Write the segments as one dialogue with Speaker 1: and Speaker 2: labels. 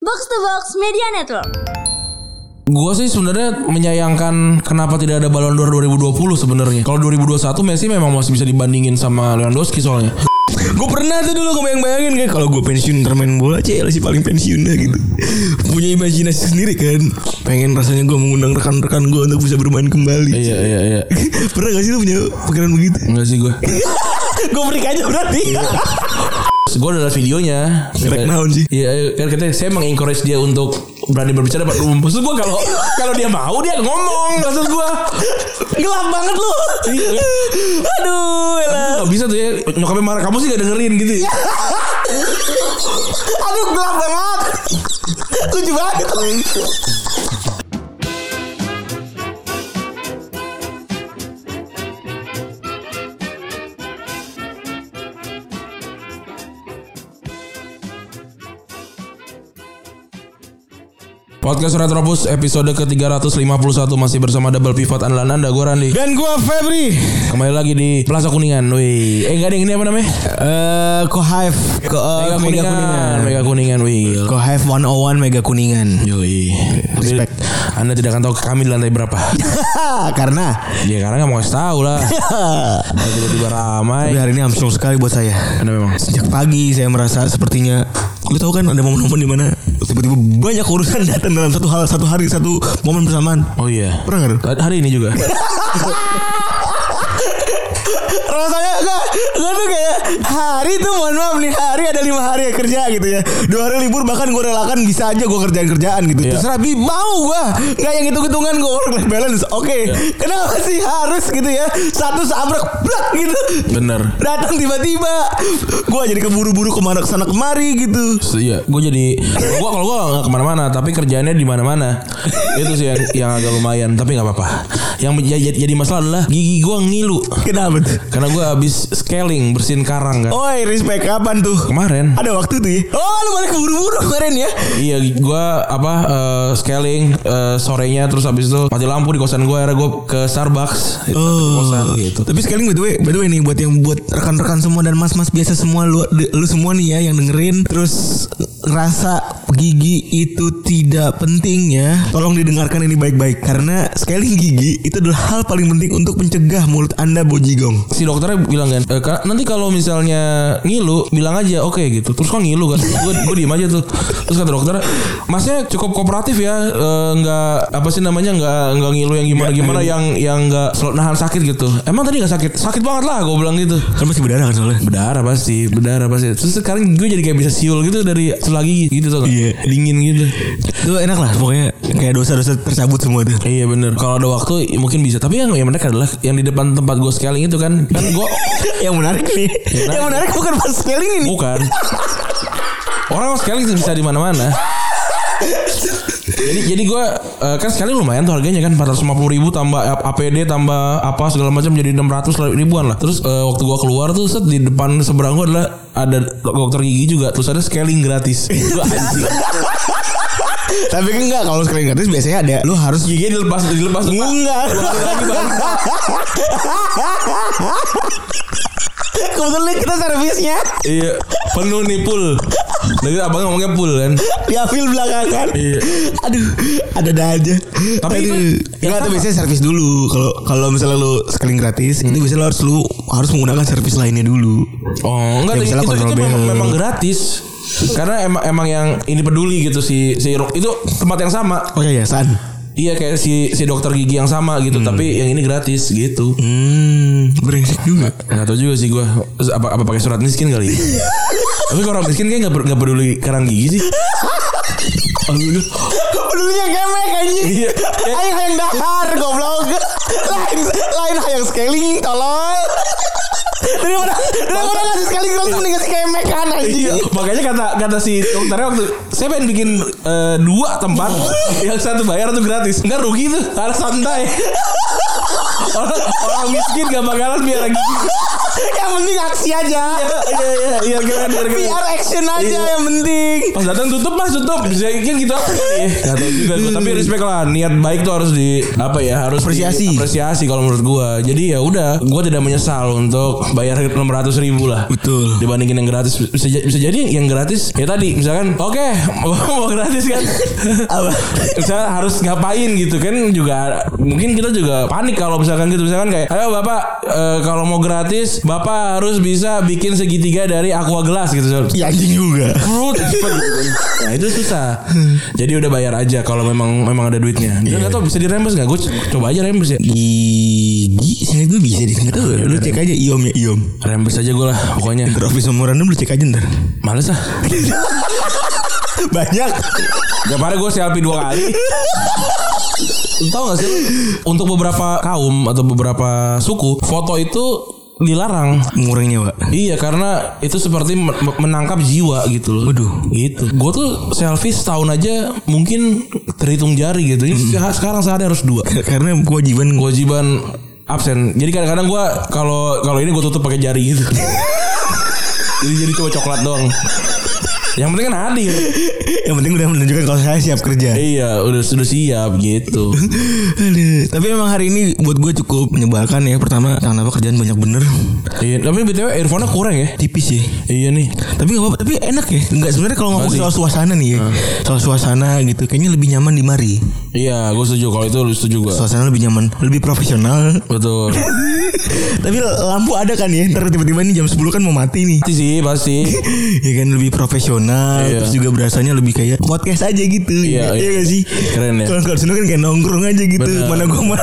Speaker 1: Box to Box Media Network.
Speaker 2: Gue sih sebenarnya menyayangkan kenapa tidak ada Ballon d'Or 2020 sebenarnya. Kalau 2021 Messi memang masih bisa dibandingin sama Lewandowski soalnya.
Speaker 3: Gue pernah tuh dulu kebayang-bayangin kayak kalau gue pensiun ntar main bola cek lah si paling pensiunnya gitu. Punya imajinasi sendiri kan. Pengen rasanya gue mengundang rekan-rekan gue untuk bisa bermain kembali.
Speaker 2: iya iya iya.
Speaker 3: pernah gak sih lu punya pikiran begitu?
Speaker 2: Enggak sih gue.
Speaker 3: gue freak aja berarti.
Speaker 2: Gue udah liat videonya.
Speaker 3: Track naon sih?
Speaker 2: Iya, kan kita saya mengencourage dia untuk berani berbicara Pak Dum. Maksud gue kalau kalau dia mau dia ngomong maksud gue.
Speaker 3: Gelap banget lu.
Speaker 2: Iya.
Speaker 3: Aduh, elah.
Speaker 2: Gak bisa tuh ya nyokapnya marah kamu sih gak dengerin gitu.
Speaker 3: Aduh, gelap banget. Lucu banget.
Speaker 2: Podcast Retropus episode ke-351 masih bersama double pivot andalan Anda gue Randy.
Speaker 3: Dan gue Febri.
Speaker 2: Kembali lagi di Plaza Kuningan. Wih, eh enggak ada yang ini apa namanya?
Speaker 3: Eh, Ko Hive. Ko,
Speaker 2: Mega
Speaker 3: eh,
Speaker 2: Kuningan. Mega Kuningan, wih.
Speaker 3: Ko Hive 101 Mega Kuningan.
Speaker 2: Yoi.
Speaker 3: Respect.
Speaker 2: Anda tidak akan tahu kami di lantai berapa.
Speaker 3: Karena
Speaker 2: ya karena nggak mau kasih tahu lah. Kalau Tiba-tiba ramai.
Speaker 3: Tapi hari ini Armstrong sekali buat saya.
Speaker 2: Anda memang.
Speaker 3: Sejak pagi saya merasa sepertinya lu tahu kan ada momen-momen di mana tiba-tiba banyak urusan datang dalam satu hal satu hari satu momen bersamaan.
Speaker 2: Oh iya.
Speaker 3: Pernah nggak lu?
Speaker 2: Tadi- Hari ini juga.
Speaker 3: Rasanya enggak, enggak tuh kayak hari tuh mohon maaf nih hari ada lima hari ya kerja gitu ya. Dua hari libur bahkan gue relakan bisa aja gue kerjaan kerjaan gitu.
Speaker 2: Iya.
Speaker 3: Terserah bi mau gue nggak yang hitung hitungan gue work life balance. Oke, kenapa sih harus gitu ya satu sabrek blak gitu.
Speaker 2: Bener.
Speaker 3: datang tiba-tiba gue jadi keburu-buru kemana kesana kemari gitu
Speaker 2: So, Iya, gue jadi gue kalau gue nggak kemana-mana, tapi kerjaannya di mana-mana. Itu sih yang, yang agak lumayan, tapi nggak apa-apa. Yang menjadi- jadi masalah adalah gigi gue ngilu
Speaker 3: kenapa tuh
Speaker 2: karena gue habis scaling bersihin karang kan.
Speaker 3: oi respect kapan tuh
Speaker 2: Kemarin
Speaker 3: ada waktu tuh ya oh lu balik keburu-buru kemarin ya
Speaker 2: Iya, gua apa eh, scaling eh, sorenya terus habis itu mati lampu di kosan gua akhirnya gua ke Starbucks di kosan gitu.
Speaker 3: Tapi sekali by the way, by the way nih buat yang buat rekan-rekan semua dan mas-mas biasa semua lu, lu semua nih ya yang dengerin terus ngerasa gigi itu tidak penting ya. Tolong didengarkan ini baik-baik karena scaling gigi itu adalah hal paling penting untuk mencegah mulut Anda bojigong.
Speaker 2: Si dokternya bilang kan, "Eh, ka- nanti kalau misalnya ngilu bilang aja oke gitu. Terus kok ngilu kan? Gue gue diem aja tuh. Terus kata dokter, masnya cukup kooperatif ya, eh, nggak apa sih namanya nggak nggak ngilu yang gimana gimana yang yang nggak sel- nahan sakit gitu. Emang tadi nggak sakit? Sakit banget lah, gue bilang gitu.
Speaker 3: Kan masih berdarah kan soalnya.
Speaker 2: Berdarah pasti, berdarah pasti. Terus sekarang gue jadi kayak bisa siul gitu dari sebelah gigi gitu tuh.
Speaker 3: Iya.
Speaker 2: Dingin gitu.
Speaker 3: Itu enak lah pokoknya kayak dosa-dosa tercabut semua tuh.
Speaker 2: Iya bener Kalau ada waktu mungkin bisa Tapi yang yang menarik adalah Yang di depan tempat gue scaling itu kan Kan gue
Speaker 3: yang menarik nih yang menarik bukan pas scaling ini
Speaker 2: Bukan Orang scaling bisa di mana mana jadi jadi gue kan scaling lumayan tuh harganya kan 450 ribu tambah A- APD tambah apa segala macam jadi 600 lah, ribuan lah terus eh, waktu gue keluar tuh set di depan seberang gue adalah ada dokter gigi juga terus ada scaling gratis Gua anjing.
Speaker 3: tapi kan enggak kalau scaling gratis biasanya ada lu harus
Speaker 2: gigi dilepas dilepas
Speaker 3: enggak
Speaker 2: lagi baru.
Speaker 3: kebetulan kita servisnya
Speaker 2: iya penuh nih pul jadi abang ngomongnya pul kan
Speaker 3: diambil belakangan
Speaker 2: Iya.
Speaker 3: aduh ada ada aja
Speaker 2: Tapi
Speaker 3: Aduh.
Speaker 2: itu-
Speaker 3: enggak
Speaker 2: yang
Speaker 3: tuh
Speaker 2: sama.
Speaker 3: biasanya servis dulu kalau kalau misalnya lu scaling gratis itu biasanya lu harus lu harus menggunakan servis lainnya dulu
Speaker 2: Oh enggak
Speaker 3: Ya,
Speaker 2: itu,
Speaker 3: misalnya
Speaker 2: itu,
Speaker 3: kontrol
Speaker 2: itu memang,
Speaker 3: bel.
Speaker 2: memang gratis karena emang emang yang ini peduli gitu si si Rok- itu tempat yang sama
Speaker 3: oh ya san
Speaker 2: iya kayak si si dokter gigi yang sama gitu tapi yang ini gratis gitu
Speaker 3: hmm brengsek juga
Speaker 2: nggak tahu juga sih gue apa apa pakai surat miskin kali tapi kalau orang miskin kayak nggak per- nggak peduli karang gigi sih
Speaker 3: Aduh, pedulinya kemek anjing.
Speaker 2: Iya.
Speaker 3: Ayo hayang dahar goblok. Lain lain hayang scaling tolong. Daripada daripada ngasih scaling langsung mending ngasih kemek kan anjing.
Speaker 2: Iya, makanya kata kata si dokternya waktu saya pengen bikin eh, dua tempat yang satu bayar satu gratis. Enggak rugi tuh, harus santai. orang orang miskin gak bakalan biar gigi.
Speaker 3: Yang penting aksi aja.
Speaker 2: Iya iya iya keren keren. keren.
Speaker 3: PR action aja
Speaker 2: Iya.
Speaker 3: yang penting.
Speaker 2: Pas datang tutup mas tutup bisa kan gitu apa kali ya? Gak tau juga gua. tapi respect lah niat baik tuh harus di apa ya harus
Speaker 3: Apresiasi.
Speaker 2: apresiasi kalau menurut gua. Jadi ya udah gua tidak menyesal untuk bayar 600 ribu lah.
Speaker 3: Betul.
Speaker 2: Dibandingin yang gratis bisa ja- bisa jadi yang gratis ya tadi misalkan oke mau gratis kan
Speaker 3: Apa?
Speaker 2: misalnya harus ngapain gitu kan juga mungkin kita juga panik kalau misalkan gitu misalkan kayak ayo bapak eh, kalau mau gratis bapak harus bisa bikin segitiga dari aqua gelas gitu
Speaker 3: Ya anjing juga.
Speaker 2: Perut, cepet gitu kan. nah itu susah jadi udah bayar aja kalau memang memang ada duitnya
Speaker 3: Iya.
Speaker 2: dia nggak tahu bisa dirembes nggak gue coba aja rembes ya Ah, iya,
Speaker 3: Gigi saya gue bisa di nggak tahu lu cek aja iom ya iom
Speaker 2: rembes aja gue lah pokoknya
Speaker 3: ntar office memorandum lu cek aja ntar
Speaker 2: males lah
Speaker 3: banyak
Speaker 2: Tiap hari gue selfie dua kali Lu Tau gak sih Untuk beberapa kaum Atau beberapa suku Foto itu Dilarang
Speaker 3: mengurangi nyawa
Speaker 2: Iya karena itu seperti men- menangkap jiwa gitu loh. Waduh. Gitu. Gue tuh selfie setahun aja mungkin terhitung jari gitu. Ini se- sekarang sehari harus dua.
Speaker 3: karena kewajiban gue
Speaker 2: Kewajiban absen. Jadi kadang-kadang gue kalau kalau ini gue tutup pakai jari gitu. jadi jadi cuma coklat doang. Yang penting kan hadir.
Speaker 3: yang penting udah menunjukkan kalau saya siap kerja
Speaker 2: iya udah sudah siap gitu.
Speaker 3: Aduh. Tapi emang hari ini buat gue cukup menyebalkan ya. Pertama, karena apa kerjaan banyak bener,
Speaker 2: Iya, tapi btw earphone-nya kurang ya.
Speaker 3: tipis ya.
Speaker 2: Iya nih.
Speaker 3: Tapi gak apa-apa, tapi enak ya. Enggak sebenarnya kalau ngomong
Speaker 2: Masih.
Speaker 3: soal suasana nih ya. Soal suasana gitu, kayaknya lebih nyaman di mari.
Speaker 2: Iya, gue setuju kalau itu lu setuju gue.
Speaker 3: Suasana lebih nyaman, lebih profesional.
Speaker 2: Betul.
Speaker 3: tapi lampu ada kan ya. Ntar tiba-tiba ini jam 10 kan mau mati nih.
Speaker 2: Pasti sih pasti.
Speaker 3: ya kan lebih profesional
Speaker 2: Iya.
Speaker 3: terus juga berasanya lebih kayak podcast aja gitu
Speaker 2: Iya, iya.
Speaker 3: gak sih
Speaker 2: Keren ya.
Speaker 3: kalau kalau di sana kan kayak nongkrong aja gitu
Speaker 2: Bener.
Speaker 3: mana gua mana,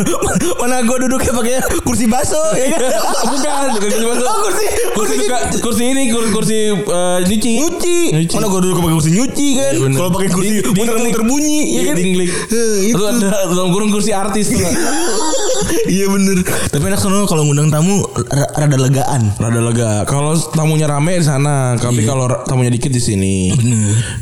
Speaker 3: mana gua duduknya pakai kursi baso ya kan
Speaker 2: Bukan, bukan kursi baso.
Speaker 3: Oh, kursi kursi,
Speaker 2: Kursi, juga, kursi ini kursi, kursi eh, nyuci.
Speaker 3: nyuci.
Speaker 2: Nyuci.
Speaker 3: Mana gua duduk pakai kursi nyuci kan.
Speaker 2: Iya, bener.
Speaker 3: Kalau pakai kursi
Speaker 2: Ding- ding-
Speaker 3: muter-muter
Speaker 2: ding.
Speaker 3: bunyi ya
Speaker 2: Iya,
Speaker 3: kan.
Speaker 2: dinglik.
Speaker 3: Eh, itu.
Speaker 2: Itu ada dalam kurung kursi artis tuh.
Speaker 3: Iya bener. Tapi enak sono kalau ngundang tamu ra- rada legaan.
Speaker 2: Rada lega. Kalau tamunya rame di sana, tapi kalau ra- tamunya dikit di sini.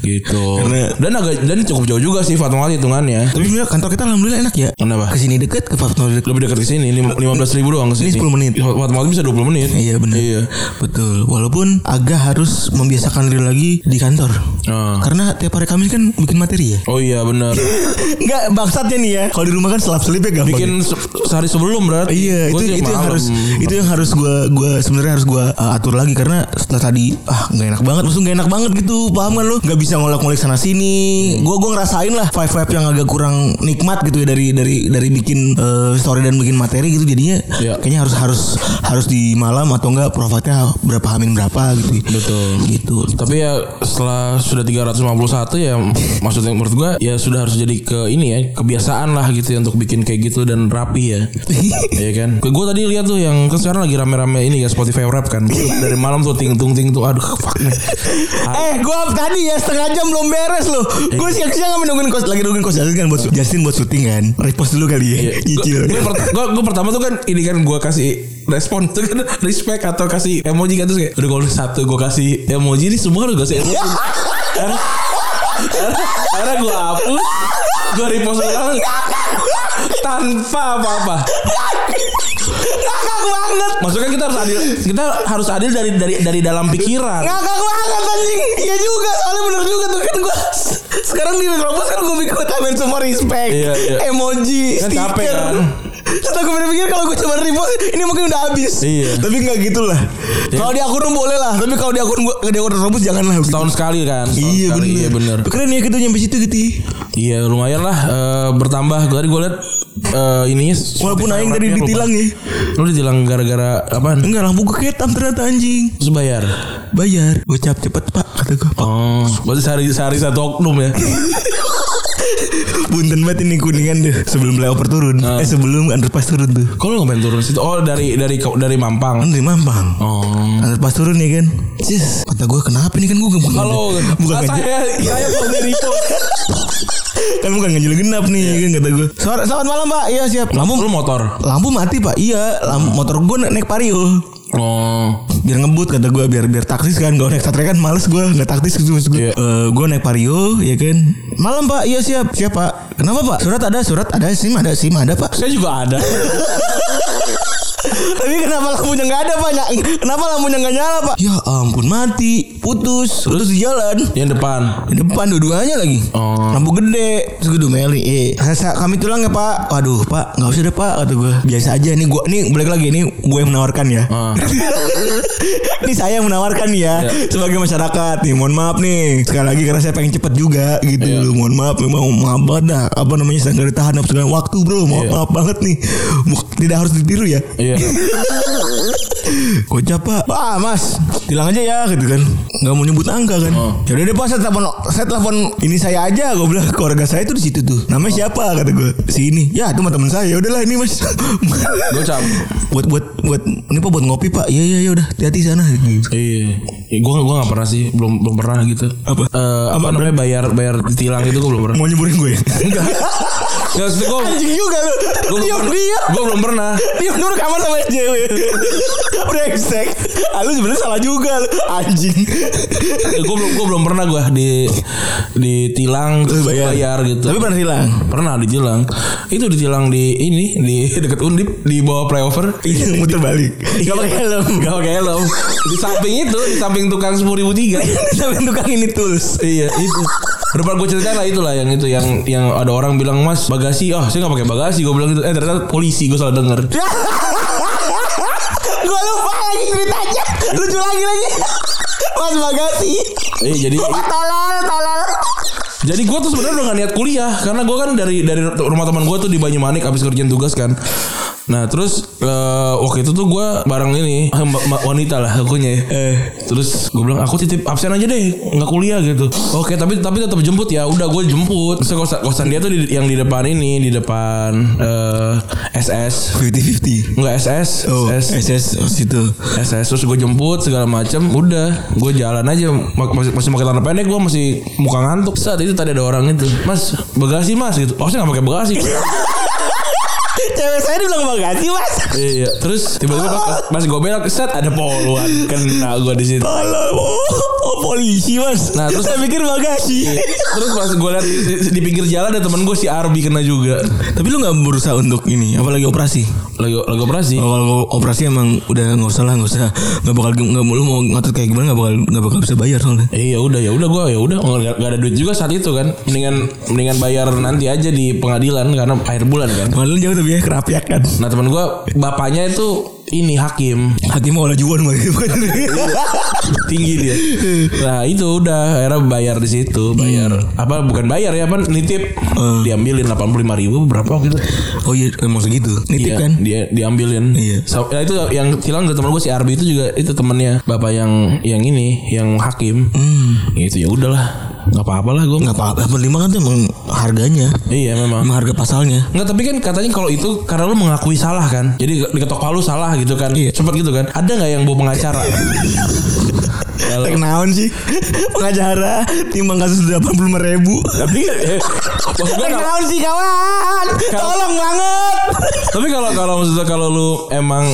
Speaker 2: Gitu.
Speaker 3: Karena-
Speaker 2: dan agak dan cukup jauh juga sih Fatmawati hitungannya.
Speaker 3: Tapi sebenarnya kantor kita alhamdulillah enak ya.
Speaker 2: Kenapa?
Speaker 3: Kesini deket ke Fatma deket.
Speaker 2: Lebih dekat ke sini lima belas ribu doang ke sini.
Speaker 3: Ini 10 menit.
Speaker 2: Fatmawati bisa 20 menit.
Speaker 3: Iya bener.
Speaker 2: Iya.
Speaker 3: Betul. Walaupun agak harus membiasakan diri lagi di kantor.
Speaker 2: Ah.
Speaker 3: Karena tiap hari Kamis kan bikin materi ya.
Speaker 2: Oh iya benar.
Speaker 3: Enggak bangsatnya nih ya. Kalau di rumah kan selap selip ya gampang.
Speaker 2: Bikin se- sehari sebelum berarti.
Speaker 3: Iya
Speaker 2: Gua
Speaker 3: itu
Speaker 2: sih
Speaker 3: itu yang
Speaker 2: malam.
Speaker 3: harus itu yang harus gue gua sebenarnya harus gue atur lagi karena setelah tadi ah nggak enak banget maksudnya nggak enak banget gitu paham kan lo nggak bisa ngolek-ngolek sana sini
Speaker 2: Hmm.
Speaker 3: gue gue ngerasain lah vibe vibe yang agak kurang nikmat gitu ya dari dari dari bikin eh, story dan bikin materi gitu jadinya
Speaker 2: Iya.
Speaker 3: kayaknya harus harus harus di malam atau enggak profitnya berapa hamin berapa gitu
Speaker 2: Betul.
Speaker 3: gitu
Speaker 2: Tapi ya setelah sudah 351 ya maksudnya menurut gua ya sudah harus jadi ke ini ya kebiasaan lah gitu ya untuk bikin kayak gitu dan rapi ya. Iya kan? Gue tadi lihat tuh yang kan sekarang lagi rame-rame ini ya Spotify Rap kan. Dari malam tuh ting tung ting tuh aduh fuck nih.
Speaker 3: Eh, gue tadi ya setengah jam belum beres loh. Gue
Speaker 2: Iya.
Speaker 3: siang-siang nggak nungguin kos, lagi nungguin kos Justin kan buat Justin buat syuting kan. Repost dulu kali
Speaker 2: Iya.
Speaker 3: ya. Nyicil.
Speaker 2: Gue pertama tuh kan ini kan gue kasih respon tuh kan respect atau kasih emoji kan terus kayak udah gue satu gue kasih emoji ini semua harus gue kasih emoji. Karena- karena- Karena gue hapus gue repost ulang tanpa apa-apa.
Speaker 3: Ngakak banget.
Speaker 2: Maksudnya kita harus adil, kita harus adil dari dari dari dalam pikiran.
Speaker 3: Ngakak banget anjing. Iya juga, soalnya bener juga tuh kan gue sekarang di Retropos kan gue bikin tambahin semua respect,
Speaker 2: Iya, iya.
Speaker 3: emoji,
Speaker 2: Kan
Speaker 3: stiker.
Speaker 2: capek, kan?
Speaker 3: Terus aku pikir kalau gue coba repost ini mungkin udah habis.
Speaker 2: Iya.
Speaker 3: Tapi nggak gitu lah. Kalau di akun lu boleh lah, tapi kalau di akun gue di akun Retropos jangan lah.
Speaker 2: Setahun sekali kan. setahun
Speaker 3: Iya
Speaker 2: sekali.
Speaker 3: bener.
Speaker 2: Iya bener.
Speaker 3: Keren ya kita nyampe situ gitu. ya.
Speaker 2: Iya lumayan lah eh, bertambah. Tadi gue liat eh, ininya.
Speaker 3: Walaupun aing tadi ditilang ya.
Speaker 2: Lu ditilang gara-gara apaan?
Speaker 3: Enggak lampu gue ketam ternyata anjing.
Speaker 2: Terus bayar.
Speaker 3: Bayar. Gue cap cepet pak kata gue. Pak
Speaker 2: Oh, berarti sehari sehari satu oknum ya.
Speaker 3: bunten banget ini kuningan deh. Sebelum layover turun. Eh sebelum underpass turun tuh.
Speaker 2: Kok lu ngapain turun situ? Oh, dari dari dari Mampang.
Speaker 3: Kan dari Mampang.
Speaker 2: Oh.
Speaker 3: Underpass turun ya kan. Cis. Kata gue kenapa nih kan gue bukan.
Speaker 2: Halo,
Speaker 3: Bukan
Speaker 2: Ah,
Speaker 3: ganjil.
Speaker 2: saya saya sendiri itu.
Speaker 3: Kan bukan ganjil genap nih ya kan kata gue. Selamat, selamat malam pak. Iya siap. Lampu
Speaker 2: Lu motor.
Speaker 3: lampu mati pak. Iya. lam- motor gue na- naik pario.
Speaker 2: Oh.
Speaker 3: biar ngebut kata gue biar biar taktis kan kalau naik satria kan males gue nggak taktis gitu maksud gue
Speaker 2: Iya.
Speaker 3: gue naik vario ya kan malam pak iya siap siap pak kenapa pak surat ada surat ada sim ada sim ada pak
Speaker 2: Saya juga ada.
Speaker 3: Tapi kenapa lampunya nggak ada pak? Ny- Kenapa lampunya nggak nyala pak? Ya ampun mati, putus, putus di jalan.
Speaker 2: Yang depan.
Speaker 3: Di depan dua-duanya lagi.
Speaker 2: Oh.
Speaker 3: Lampu gede. Terus gue domeli. Eh, "Saya- kami tulang ya pak. Waduh pak, nggak usah deh pak. Kata gue. Biasa aja nih gue. Nih balik lagi nih gue yang menawarkan ya.
Speaker 2: Ah.
Speaker 3: ini saya yang menawarkan ya
Speaker 2: Iya.
Speaker 3: sebagai masyarakat nih. Mohon maaf nih. Sekali lagi karena saya pengen cepet juga gitu.
Speaker 2: Iya.
Speaker 3: loh. Mohon maaf memang maaf banget dah. Apa namanya saya nggak ditahan apa segala waktu bro. Mohon
Speaker 2: Iya.
Speaker 3: maaf banget nih. Mu- Tidak harus ditiru ya.
Speaker 2: Iya.
Speaker 3: Gocap pak Ah mas Bilang aja ya gitu kan Gak mau nyebut angka kan
Speaker 2: Oh.
Speaker 3: Yaudah deh pak saya telepon Saya telepon ini saya aja Gue bilang keluarga saya tuh di situ tuh Namanya
Speaker 2: Oh.
Speaker 3: siapa kata gue Si ini Ya itu mah temen saya Yaudahlah ini mas
Speaker 2: Gocap.
Speaker 3: Buat buat buat Ini pak buat ngopi pak Iya iya iya udah Hati-hati sana
Speaker 2: Iya. Ya, gua gua nggak pernah sih, belum belum pernah gitu.
Speaker 3: Apa?
Speaker 2: Eh, apa, namanya bayar bayar tilang itu gua belum pernah.
Speaker 3: Mau nyemburin gue ya? Enggak
Speaker 2: Enggak maksud gua
Speaker 3: Anjing juga lu
Speaker 2: gua belum
Speaker 3: Diam
Speaker 2: pernah.
Speaker 3: diam
Speaker 2: Gua belum pernah.
Speaker 3: Diam dulu kamar sama SJW Brengsek ah, Lu sebenernya salah juga lu Anjing
Speaker 2: Ya, Gua belum gua belum pernah gua di ditilang terus bayar, bayar gitu.
Speaker 3: Iya. Tapi pernah hilang
Speaker 2: pernah ditilang itu ditilang di ini di deket undip di bawah flyover
Speaker 3: Iya muter balik Gak pakai helm
Speaker 2: Gak pakai helm Di samping itu Di samping tukang 10.000
Speaker 3: Sampai tukang ini tools
Speaker 2: Iya itu Depan gue cerita lah itulah yang itu yang yang ada orang bilang mas bagasi ah saya nggak pakai bagasi gue bilang gitu eh ternyata polisi gue salah denger
Speaker 3: Ya. Gue lupa lagi ceritanya Lucu lagi lagi Mas Bagasi
Speaker 2: eh jadi
Speaker 3: Tolol tolol
Speaker 2: jadi gue tuh sebenarnya udah gak niat kuliah karena gue kan dari dari rumah teman gue tuh di Banyumanik abis kerjaan tugas kan nah terus eh, waktu itu tuh gue bareng ini eh, ma- ma- wanita lah akunya ya. terus gue bilang aku titip absen aja deh nggak kuliah gitu oke tapi tapi tetap jemput ya udah gue jemput terus kosan, kosan dia tuh di- yang di depan ini di depan eh, SS
Speaker 3: 50-50
Speaker 2: Enggak SS,
Speaker 3: Oh
Speaker 2: SS
Speaker 3: SS situ
Speaker 2: SS terus gue jemput segala macam udah gue jalan aja Ma- masih masih pakai celana pendek gue masih muka ngantuk saat itu tadi ada orang itu mas bagasi mas gitu oh saya nggak pakai bagasi
Speaker 3: Cewek saya dibilang Bagasi mas
Speaker 2: iya terus tiba-tiba pas, pas gue belok set ada poluan kena gue di situ
Speaker 3: Tolol oh, oh, polisi mas
Speaker 2: Nah, terus-
Speaker 3: saya pikir Bagasi
Speaker 2: terus pas gue lihat di, di pinggir jalan ada temen gue si Arbi kena juga
Speaker 3: Tapi lu gak berusaha untuk ini Apalagi operasi
Speaker 2: lagi lagi operasi
Speaker 3: Oh, kalau operasi emang udah nggak usah lah nggak usah nggak bakal nggak lu mau ngotot kayak gimana nggak bakal nggak bakal bisa bayar soalnya
Speaker 2: Eh, ya udah ya udah gue ya udah nggak nggak ada duit juga saat itu kan mendingan mendingan bayar nanti aja di pengadilan karena akhir bulan kan
Speaker 3: Malah jauh tapi ya kerapiak kan
Speaker 2: nah temen gue bapaknya itu ini hakim
Speaker 3: Hati mau lajuan mah gitu
Speaker 2: tinggi dia. Nah itu udah akhirnya bayar di situ, bayar apa bukan bayar ya apa nitip
Speaker 3: Hmm.
Speaker 2: diambilin 85.000 ribu berapa gitu.
Speaker 3: Oh iya emang segitu
Speaker 2: Iya,
Speaker 3: Nitip kan
Speaker 2: Dia diambilin.
Speaker 3: Iya.
Speaker 2: So- ya, itu yang hilang dari teman gue si Arbi itu juga itu temennya bapak yang yang ini yang hakim. Gitu ya udahlah nggak apa-apa lah gue.
Speaker 3: Gak Hmm. apa-apa Apa lima kan tuh emang harganya
Speaker 2: Iya memang.
Speaker 3: Emang harga pasalnya
Speaker 2: Nggak tapi kan katanya kalau itu karena lu mengakui salah kan. Jadi diketok palu salah gitu kan.
Speaker 3: Iya.
Speaker 2: Cepet gitu kan. Ada nggak yang bawa pengacara? Kalau-
Speaker 3: Teknaon sih Pengacara Timbang kasus 85 ribu
Speaker 2: tapi eh, maksud gua kalau-
Speaker 3: Teknaon sih kawan Tolong banget
Speaker 2: Tapi kalau kalau maksudnya kalau lu emang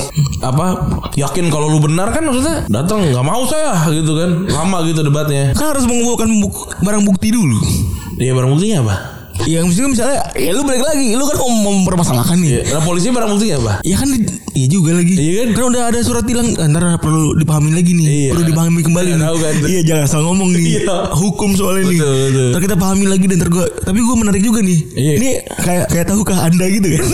Speaker 2: apa yakin kalau lu benar kan maksudnya datang nggak mau saya gitu kan lama gitu debatnya.
Speaker 3: Kan harus mengumpulkan buk- barang bukti dulu
Speaker 2: Iya barang buktinya apa?
Speaker 3: Ya misalnya, misalnya Ya lu balik lagi Lu kan mau mau mempermasalahkan nih
Speaker 2: Ya, Nah polisi barang buktinya apa?
Speaker 3: Ya kan Iya juga lagi
Speaker 2: Iya kan?
Speaker 3: Karena udah ada surat tilang ah, Ntar perlu dipahami lagi nih
Speaker 2: Iya.
Speaker 3: Perlu dipahami
Speaker 2: Iya,
Speaker 3: kembali nih.
Speaker 2: tahu kan.
Speaker 3: Iya jangan asal ngomong nih
Speaker 2: Iya.
Speaker 3: Hukum soalnya nih
Speaker 2: Betul, betul.
Speaker 3: Ntar kita pahami lagi dan ntar gua Tapi gue menarik juga nih
Speaker 2: Iya.
Speaker 3: Ini kayak kayak tahukah anda gitu kan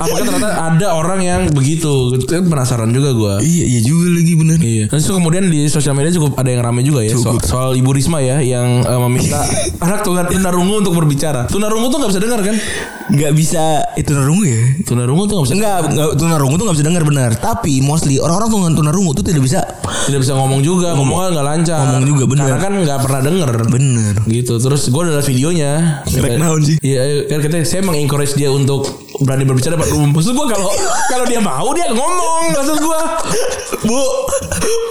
Speaker 2: Apakah ternyata ada orang yang begitu? Gitu kan penasaran juga gua.
Speaker 3: Iya iya juga lagi bener
Speaker 2: Iya. Terus kemudian di sosial media cukup ada yang ramai juga ya soal, soal Ibu Risma ya yang eh, meminta anak tuna- tunarungu untuk berbicara. Tunarungu tuh nggak bisa dengar kan?
Speaker 3: Gak bisa Itu narungu ya
Speaker 2: Tunarungu tuh nggak bisa
Speaker 3: Enggak, enggak tunarungu tuh gak bisa dengar benar. Tapi mostly orang-orang tuh dengan tunarungu tuh tidak bisa
Speaker 2: tidak bisa ngomong juga, ngomongnya nggak lancar.
Speaker 3: Ngomong juga, bener.
Speaker 2: Karena kan nggak pernah denger.
Speaker 3: bener.
Speaker 2: gitu terus gue ada videonya
Speaker 3: Ngerek naon sih?
Speaker 2: Iya kan katanya saya mengencourage dia untuk berani berbicara pak umum maksud gue kalau kalau dia mau dia ngomong maksud gue
Speaker 3: Bu,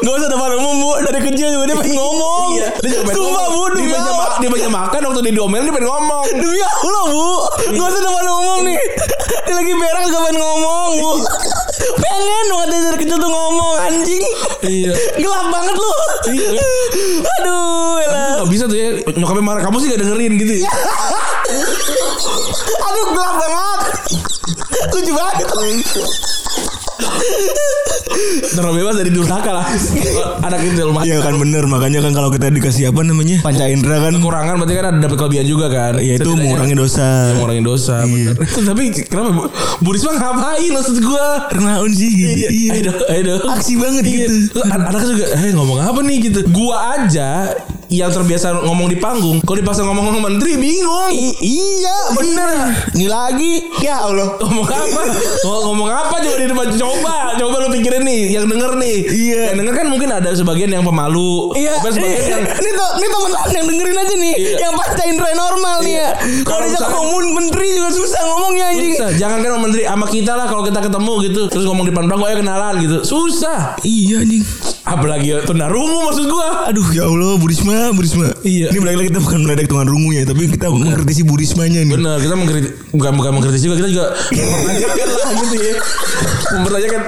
Speaker 3: gak usah depan umum bu. Dari kecil juga dia pengen ngomong.
Speaker 2: iya dia juga pengen
Speaker 3: Sumpah bu,
Speaker 2: ngomong. dia
Speaker 3: demi
Speaker 2: banyak
Speaker 3: Allah.
Speaker 2: ma- dia banyak makan waktu dia diomelin dia pengen ngomong
Speaker 3: Demi Allah bu Gak usah depan umum nih Dia lagi berak gak pengen ngomong bu Pengen banget dia dari kecil tuh ngomong anjing
Speaker 2: Iya.
Speaker 3: Gelap banget lu
Speaker 2: Iya.
Speaker 3: Aduh elah
Speaker 2: nggak bisa tuh ya nyokapnya marah kamu sih gak dengerin gitu ya
Speaker 3: Aduh gelap banget Lucu banget
Speaker 2: Terbebas dari durhaka lah. Anak intel mah.
Speaker 4: Iya kan bener makanya kan kalau kita dikasih apa namanya panca indera kan
Speaker 2: Kekurangan berarti kan ada dapat kelebihan juga kan.
Speaker 4: ya itu
Speaker 2: Setidaknya
Speaker 4: mengurangi dosa.
Speaker 2: mengurangi dosa.
Speaker 4: Iya.
Speaker 2: bener. Tapi kenapa Bu- Bu Risma ngapain maksud gua?
Speaker 4: Kenaun sih gitu.
Speaker 2: Iya. Ayo dong, ayo dong.
Speaker 4: Aksi banget gitu.
Speaker 2: Terus an- Anaknya juga eh ngomong apa nih gitu. Gua aja yang terbiasa ngomong di panggung, kalau dipaksa ngomong sama menteri bingung.
Speaker 4: I- iya bener. Ini lagi ya Allah.
Speaker 2: ngomong apa Ngo- ngomong apa coba di depan coba coba lu pikirin nih yang denger nih
Speaker 4: Iya.
Speaker 2: yang denger kan mungkin ada sebagian yang pemalu
Speaker 4: Iya.
Speaker 2: Ada sebagian yang
Speaker 4: Ini tuh ini temen yang dengerin aja nih yang panca indera normal nih ya. Iya. Kalau
Speaker 2: Kalau
Speaker 4: diajak
Speaker 2: misalkan-
Speaker 4: komun menteri juga susah ngomongnya anjing.
Speaker 2: susah jangan kan sama menteri sama kita lah kalau kita ketemu gitu terus ngomong di depan panggung ayo kenalan gitu susah
Speaker 4: Iya anjing.
Speaker 2: apalagi tunarungu maksud gua
Speaker 4: Aduh ya Allah Burisma Burisma.
Speaker 2: Iya.
Speaker 4: Ini balik lagi kita bukan meledek tuan rungu ya tapi kita mengkritisi Burismanya nih.
Speaker 2: bener kita mengkritik bukan bukan mengkritik juga kita juga mempertanyakan lah gitu ya mempertanyakan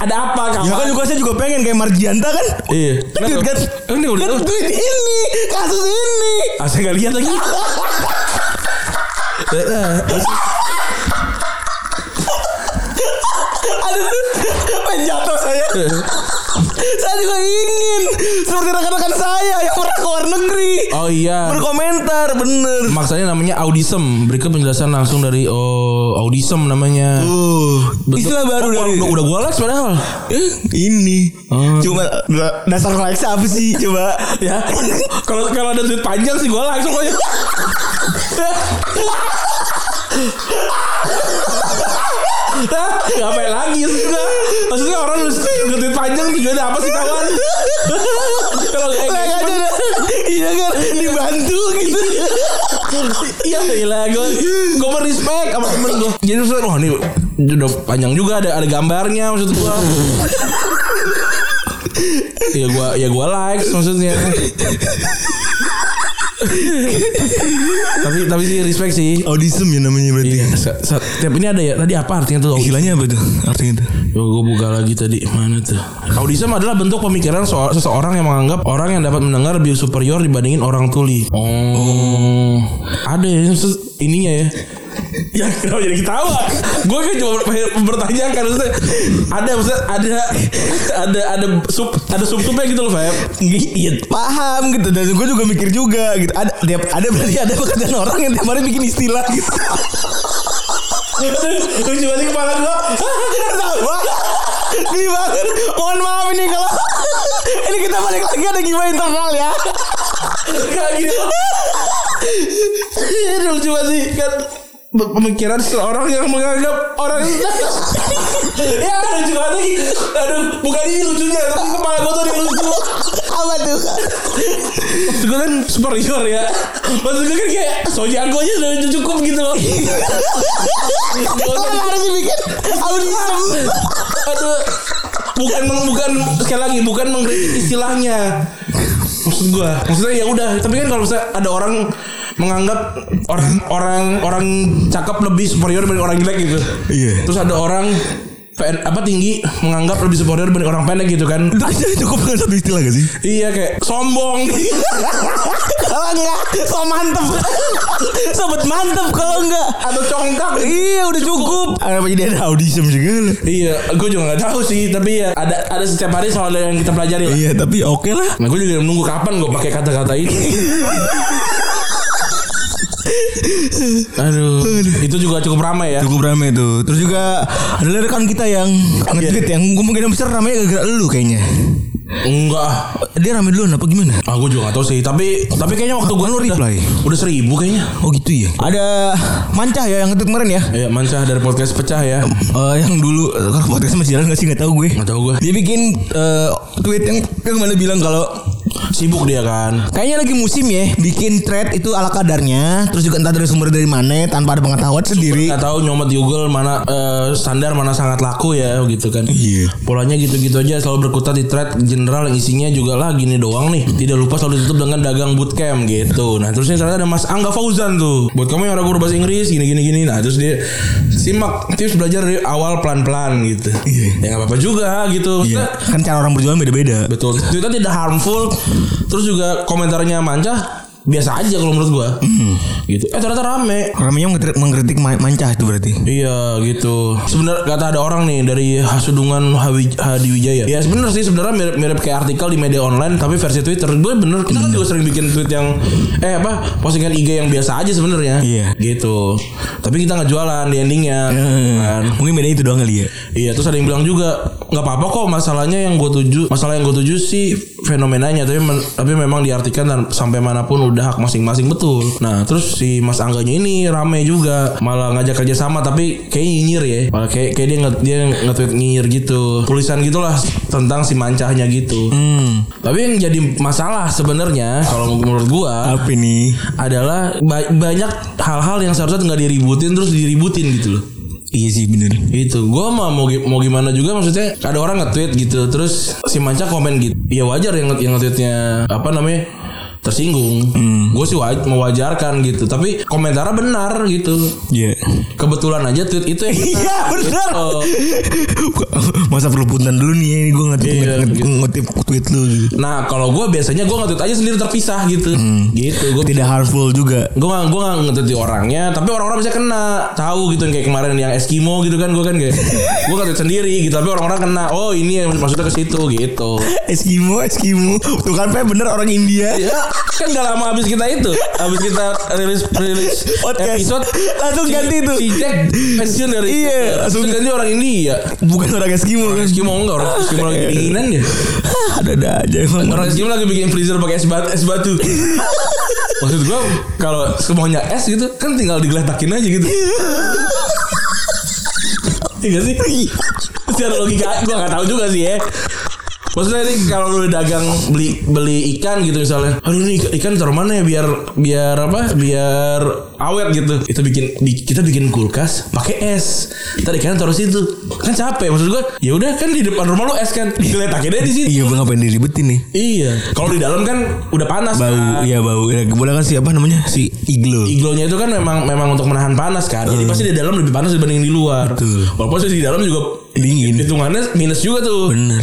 Speaker 2: ada apa kamu
Speaker 4: Ya kan juga saya juga pengen kayak Marjianta kan.
Speaker 2: iya
Speaker 4: Tweet kan.
Speaker 2: ini udah
Speaker 4: Tweet ini kasus ini.
Speaker 2: Ah, saya nggak lihat lagi.
Speaker 4: Aduh, menjatuh saya. saya juga ingin seperti rekan-rekan saya yang pernah ke luar negeri.
Speaker 2: Oh iya.
Speaker 4: Berkomentar bener.
Speaker 2: Maksudnya namanya audism. Berikan penjelasan langsung dari oh, audism namanya.
Speaker 4: Uh, istilah baru
Speaker 2: Oh,
Speaker 4: dari
Speaker 2: udah, udah gua les padahal.
Speaker 4: Eh, ini.
Speaker 2: Oh.
Speaker 4: Cuma da- dasar likes apa sih coba?
Speaker 2: Ya. Kalau kalau ada tweet panjang sih gua langsung aja. Hah? Ngapain lagi sudah? Maksudnya orang nulis tweet panjang tujuannya apa sih kawan? Kalau kayak
Speaker 4: Like aja
Speaker 2: gitu.
Speaker 4: dah. Iya kan dibantu gitu.
Speaker 2: Iya gila gue Gue mau respect sama temen gue Jadi terus wah ini udah panjang juga ada ada gambarnya maksud gue ya gue ya gue like maksudnya tapi tapi sih respect sih
Speaker 3: Oh,
Speaker 4: Audism ya namanya berarti.
Speaker 2: Iya, sa- sa- tiap ini ada ya tadi apa artinya tuh
Speaker 4: Istilahnya apa tuh? Artinya itu.
Speaker 2: gue buka lagi tadi mana tuh. Audism adalah bentuk pemikiran so- seseorang yang menganggap orang yang dapat mendengar lebih superior dibandingin orang tuli. Oh, ada ya maksud- ininya ya. Ya kenapa jadi ketawa? Gue kan cuma ber- bertanya kan maksudnya ada maksudnya ada ada ada sub ada subtubnya gitu loh Feb.
Speaker 4: Iya paham gitu dan gue juga mikir juga gitu ada tiap ada berarti ada pekerjaan orang yang tiap hari bikin istilah gitu
Speaker 2: Lucu banget di kepala gue.
Speaker 4: Kenapa? Geli banget mohon maaf ini kalau ini kita balik lagi ada gimana internal ya
Speaker 2: Kayak gitu. Ini lucu banget sih kan pemikiran seorang yang menganggap orang itu ya lucu banget lagi aduh bukan ini lucunya tapi kepala gue tuh ada yang lucu
Speaker 4: apa tuh
Speaker 2: maksud gue kan superior ya maksud gue kan kayak soji aku aja udah lucu cukup gitu loh
Speaker 4: Kenapa harus dibikin audisem
Speaker 2: aduh bukan bukan sekali lagi bukan mengkritik istilahnya maksud gua maksudnya ya udah tapi kan kalau misalnya ada orang menganggap orang orang orang cakep lebih superior dibanding orang jelek gitu
Speaker 4: Iya.
Speaker 2: terus ada orang pen- apa tinggi menganggap lebih superior dibanding orang pendek gitu kan
Speaker 4: itu cukup dengan satu istilah gak sih
Speaker 2: iya kayak sombong
Speaker 4: kalau enggak so mantep sobat mantep kalau enggak
Speaker 2: atau congkak
Speaker 4: iya udah cukup apa jadi ada audisem segala
Speaker 2: iya gue juga nggak tahu sih tapi ya ada ada setiap hari soal yang kita pelajari lah.
Speaker 4: iya tapi oke lah
Speaker 2: Nah, gue juga menunggu kapan gue pakai kata-kata ini. Aduh, itu juga cukup ramai ya.
Speaker 4: Cukup rame tuh. Terus juga ada rekan kita yang nge-tweet yang kemungkinan besar ramenya gara-gara lu kayaknya.
Speaker 2: Enggak,
Speaker 4: Dia rame duluan apa gimana?
Speaker 2: aku juga gak tahu sih. Tapi tapi kayaknya waktu gue
Speaker 4: Kan lu reply.
Speaker 2: udah seribu kayaknya.
Speaker 4: Oh gitu ya. Ada Mancah ya yang nge-tweet kemarin ya.
Speaker 2: Ya, Mansah dari podcast pecah ya.
Speaker 4: Eh, yang dulu kan podcast masih jalan gak sih nggak tahu gue.
Speaker 2: Nggak tahu gue.
Speaker 4: Dia bikin eh, tweet yang yang kemarin bilang kalau
Speaker 2: Sibuk dia kan.
Speaker 4: Kayaknya lagi musim ya bikin thread itu ala kadarnya terus juga entah dari sumber dari mana tanpa ada pengetahuan sendiri.
Speaker 2: Gak tahu nyomet di Google mana eh, standar mana sangat laku ya gitu kan.
Speaker 4: Iya.
Speaker 2: Polanya gitu-gitu aja selalu berkutat di thread general yang isinya juga lah gini doang nih. Tidak lupa selalu ditutup dengan dagang bootcamp gitu. Nah terusnya ternyata ada Mas Angga Fauzan tuh. Buat kamu yang ragu berbahasa Inggris gini gini gini. Nah terus dia simak tips belajar dari awal pelan-pelan gitu.
Speaker 4: Iya.
Speaker 2: Ya nggak apa-apa juga gitu.
Speaker 3: Iya.
Speaker 2: Maksudnya,
Speaker 4: Kan cara orang berjualan beda-beda.
Speaker 2: Betul. Twitter tidak harmful. Terus juga komentarnya Manca biasa aja kalau menurut gua.
Speaker 4: Hmm.
Speaker 2: Gitu. Eh ternyata rame.
Speaker 3: Ramenya mengkritik, mengkritik ma- mancah itu berarti.
Speaker 2: Iya gitu. Sebenarnya kata ada orang nih dari Hasudungan Hawi- Hadi Wijaya. Ya sebenarnya sih sebenarnya mirip, mirip kayak artikel di media online tapi versi Twitter. Gue bener kita kan juga sering bikin tweet yang eh apa postingan IG yang biasa aja sebenarnya.
Speaker 3: Iya.
Speaker 2: Gitu. Tapi kita nggak jualan di endingnya. kan.
Speaker 3: Eh, Mungkin beda itu doang kali ya.
Speaker 2: Iya terus ada yang bilang juga nggak apa-apa kok masalahnya yang gue tuju masalah yang gue tuju sih fenomenanya tapi men- tapi memang diartikan dan sampai manapun udah hak masing-masing betul. Nah terus si Mas Angganya ini rame juga malah ngajak kerja sama tapi kayak nyinyir ya malah kayak kayak dia nge dia nge-tweet nyinyir gitu tulisan gitulah tentang si mancahnya gitu.
Speaker 3: Hmm.
Speaker 2: Tapi yang jadi masalah sebenarnya kalau menurut gua
Speaker 3: Apa nih?
Speaker 2: adalah ba- banyak hal-hal yang seharusnya nggak diributin terus diributin gitu loh.
Speaker 3: Iya sih bener.
Speaker 2: Itu Gitu. gua mah mau gi- mau gimana juga maksudnya ada orang nge-tweet gitu terus si Manca komen gitu. Ya wajar yang nge- yang nge-tweetnya apa namanya? tersinggung. Gue sih wa- mewajarkan gitu, tapi komentarnya benar gitu.
Speaker 3: Iya.
Speaker 2: Kebetulan aja tweet itu yang benar.
Speaker 3: Iya bener.
Speaker 2: Oh.
Speaker 3: Masa perlu punten dulu nih ya Ini gue ngutip,
Speaker 2: Iya,
Speaker 3: ngutip,
Speaker 2: gitu.
Speaker 3: ngutip tweet lu gitu.
Speaker 2: Nah, kalau gue biasanya gue nge-tweet aja sendiri terpisah gitu. Gitu. Gue
Speaker 3: Tidak harmful juga
Speaker 2: gue gak gue gak ngerti orangnya tapi orang-orang bisa kena tahu gitu kayak kemarin yang Eskimo gitu kan gue kan kayak gue ngerti sendiri gitu tapi orang-orang kena oh ini yang maksudnya ke situ gitu
Speaker 3: Eskimo Eskimo Tuh kan Pe, bener orang India
Speaker 2: ya kan gak lama habis kita itu habis kita rilis rilis
Speaker 3: Podcast.
Speaker 2: episode
Speaker 3: Langsung
Speaker 2: si-
Speaker 3: ganti tuh.
Speaker 2: si Jack pensiun dari
Speaker 3: Iya,
Speaker 2: langsung
Speaker 3: langsung-
Speaker 2: ganti orang India
Speaker 3: Bukan orang Eskimo kan
Speaker 2: Eskimo enggak orang Eskimo lagi dinginan ya
Speaker 3: Hah, Ada-ada aja emang
Speaker 2: orang Eskimo lagi bikin freezer pakai es batu es batu maksud gue kalau semuanya es gitu kan tinggal digeletakin aja gitu Iya gak sih? Secara logika gue gak tahu juga sih ya. Maksudnya ini kalau lu dagang beli beli ikan gitu misalnya, aduh ini ik- ikan taruh mana ya biar biar apa? Biar awet gitu. Kita bikin di- kita bikin kulkas pakai es. Tadi ikan taruh situ. Kan capek maksud gua. Ya udah kan di depan rumah lu es kan diletakin aja di situ.
Speaker 3: Iya bang ngapain diribetin nih
Speaker 2: Iya. Kalau di dalam kan udah panas.
Speaker 3: Bau Iya bau ya, Bola kan siapa namanya Si Iglo
Speaker 2: Iglonya itu kan memang memang untuk menahan panas kan. Jadi pasti di dalam lebih panas dibanding di luar.
Speaker 3: Betul.
Speaker 2: Walaupun sih di dalam juga
Speaker 3: Dingin
Speaker 2: hitungannya minus juga tuh.
Speaker 3: Bener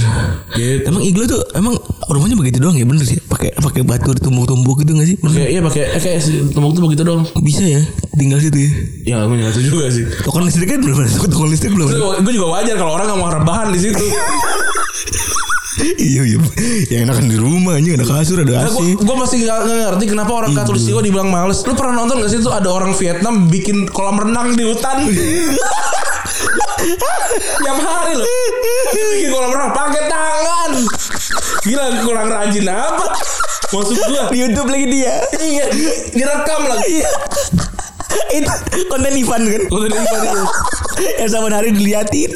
Speaker 2: Gitu.
Speaker 3: Emang Iglo tuh Emang rumahnya begitu doang ya bener sih Pakai pakai batu ditumbuk-tumbuk gitu gak sih
Speaker 2: Kayak iya pakai eh, kayak si tembok tuh begitu dong.
Speaker 3: Bisa ya Tinggal situ ya
Speaker 2: Ya gue nggak tahu juga sih.
Speaker 3: Tukang listrik kan belum ada Tukang listrik belum ada
Speaker 2: Gue juga wajar kalau orang nggak mau rebahan di situ.
Speaker 3: Iya iya Yang enakan di rumah anjing Ada kasur ada AC
Speaker 2: gue gue Eh, masih Iya, nggak nggak ngerti kenapa orang Katolik dibilang males. Lu pernah nonton gak sih tuh ada orang Vietnam bikin kolam renang di hutan? Tiap hari loh Bikin kolam renang pakai tangan Gila kurang rajin apa Maksud gue
Speaker 3: Di Youtube lagi dia
Speaker 2: Iya direkam lagi
Speaker 3: Iya Itu konten Ivan kan
Speaker 2: Gua tadi lupa nih.
Speaker 3: Yang sama hari diliatin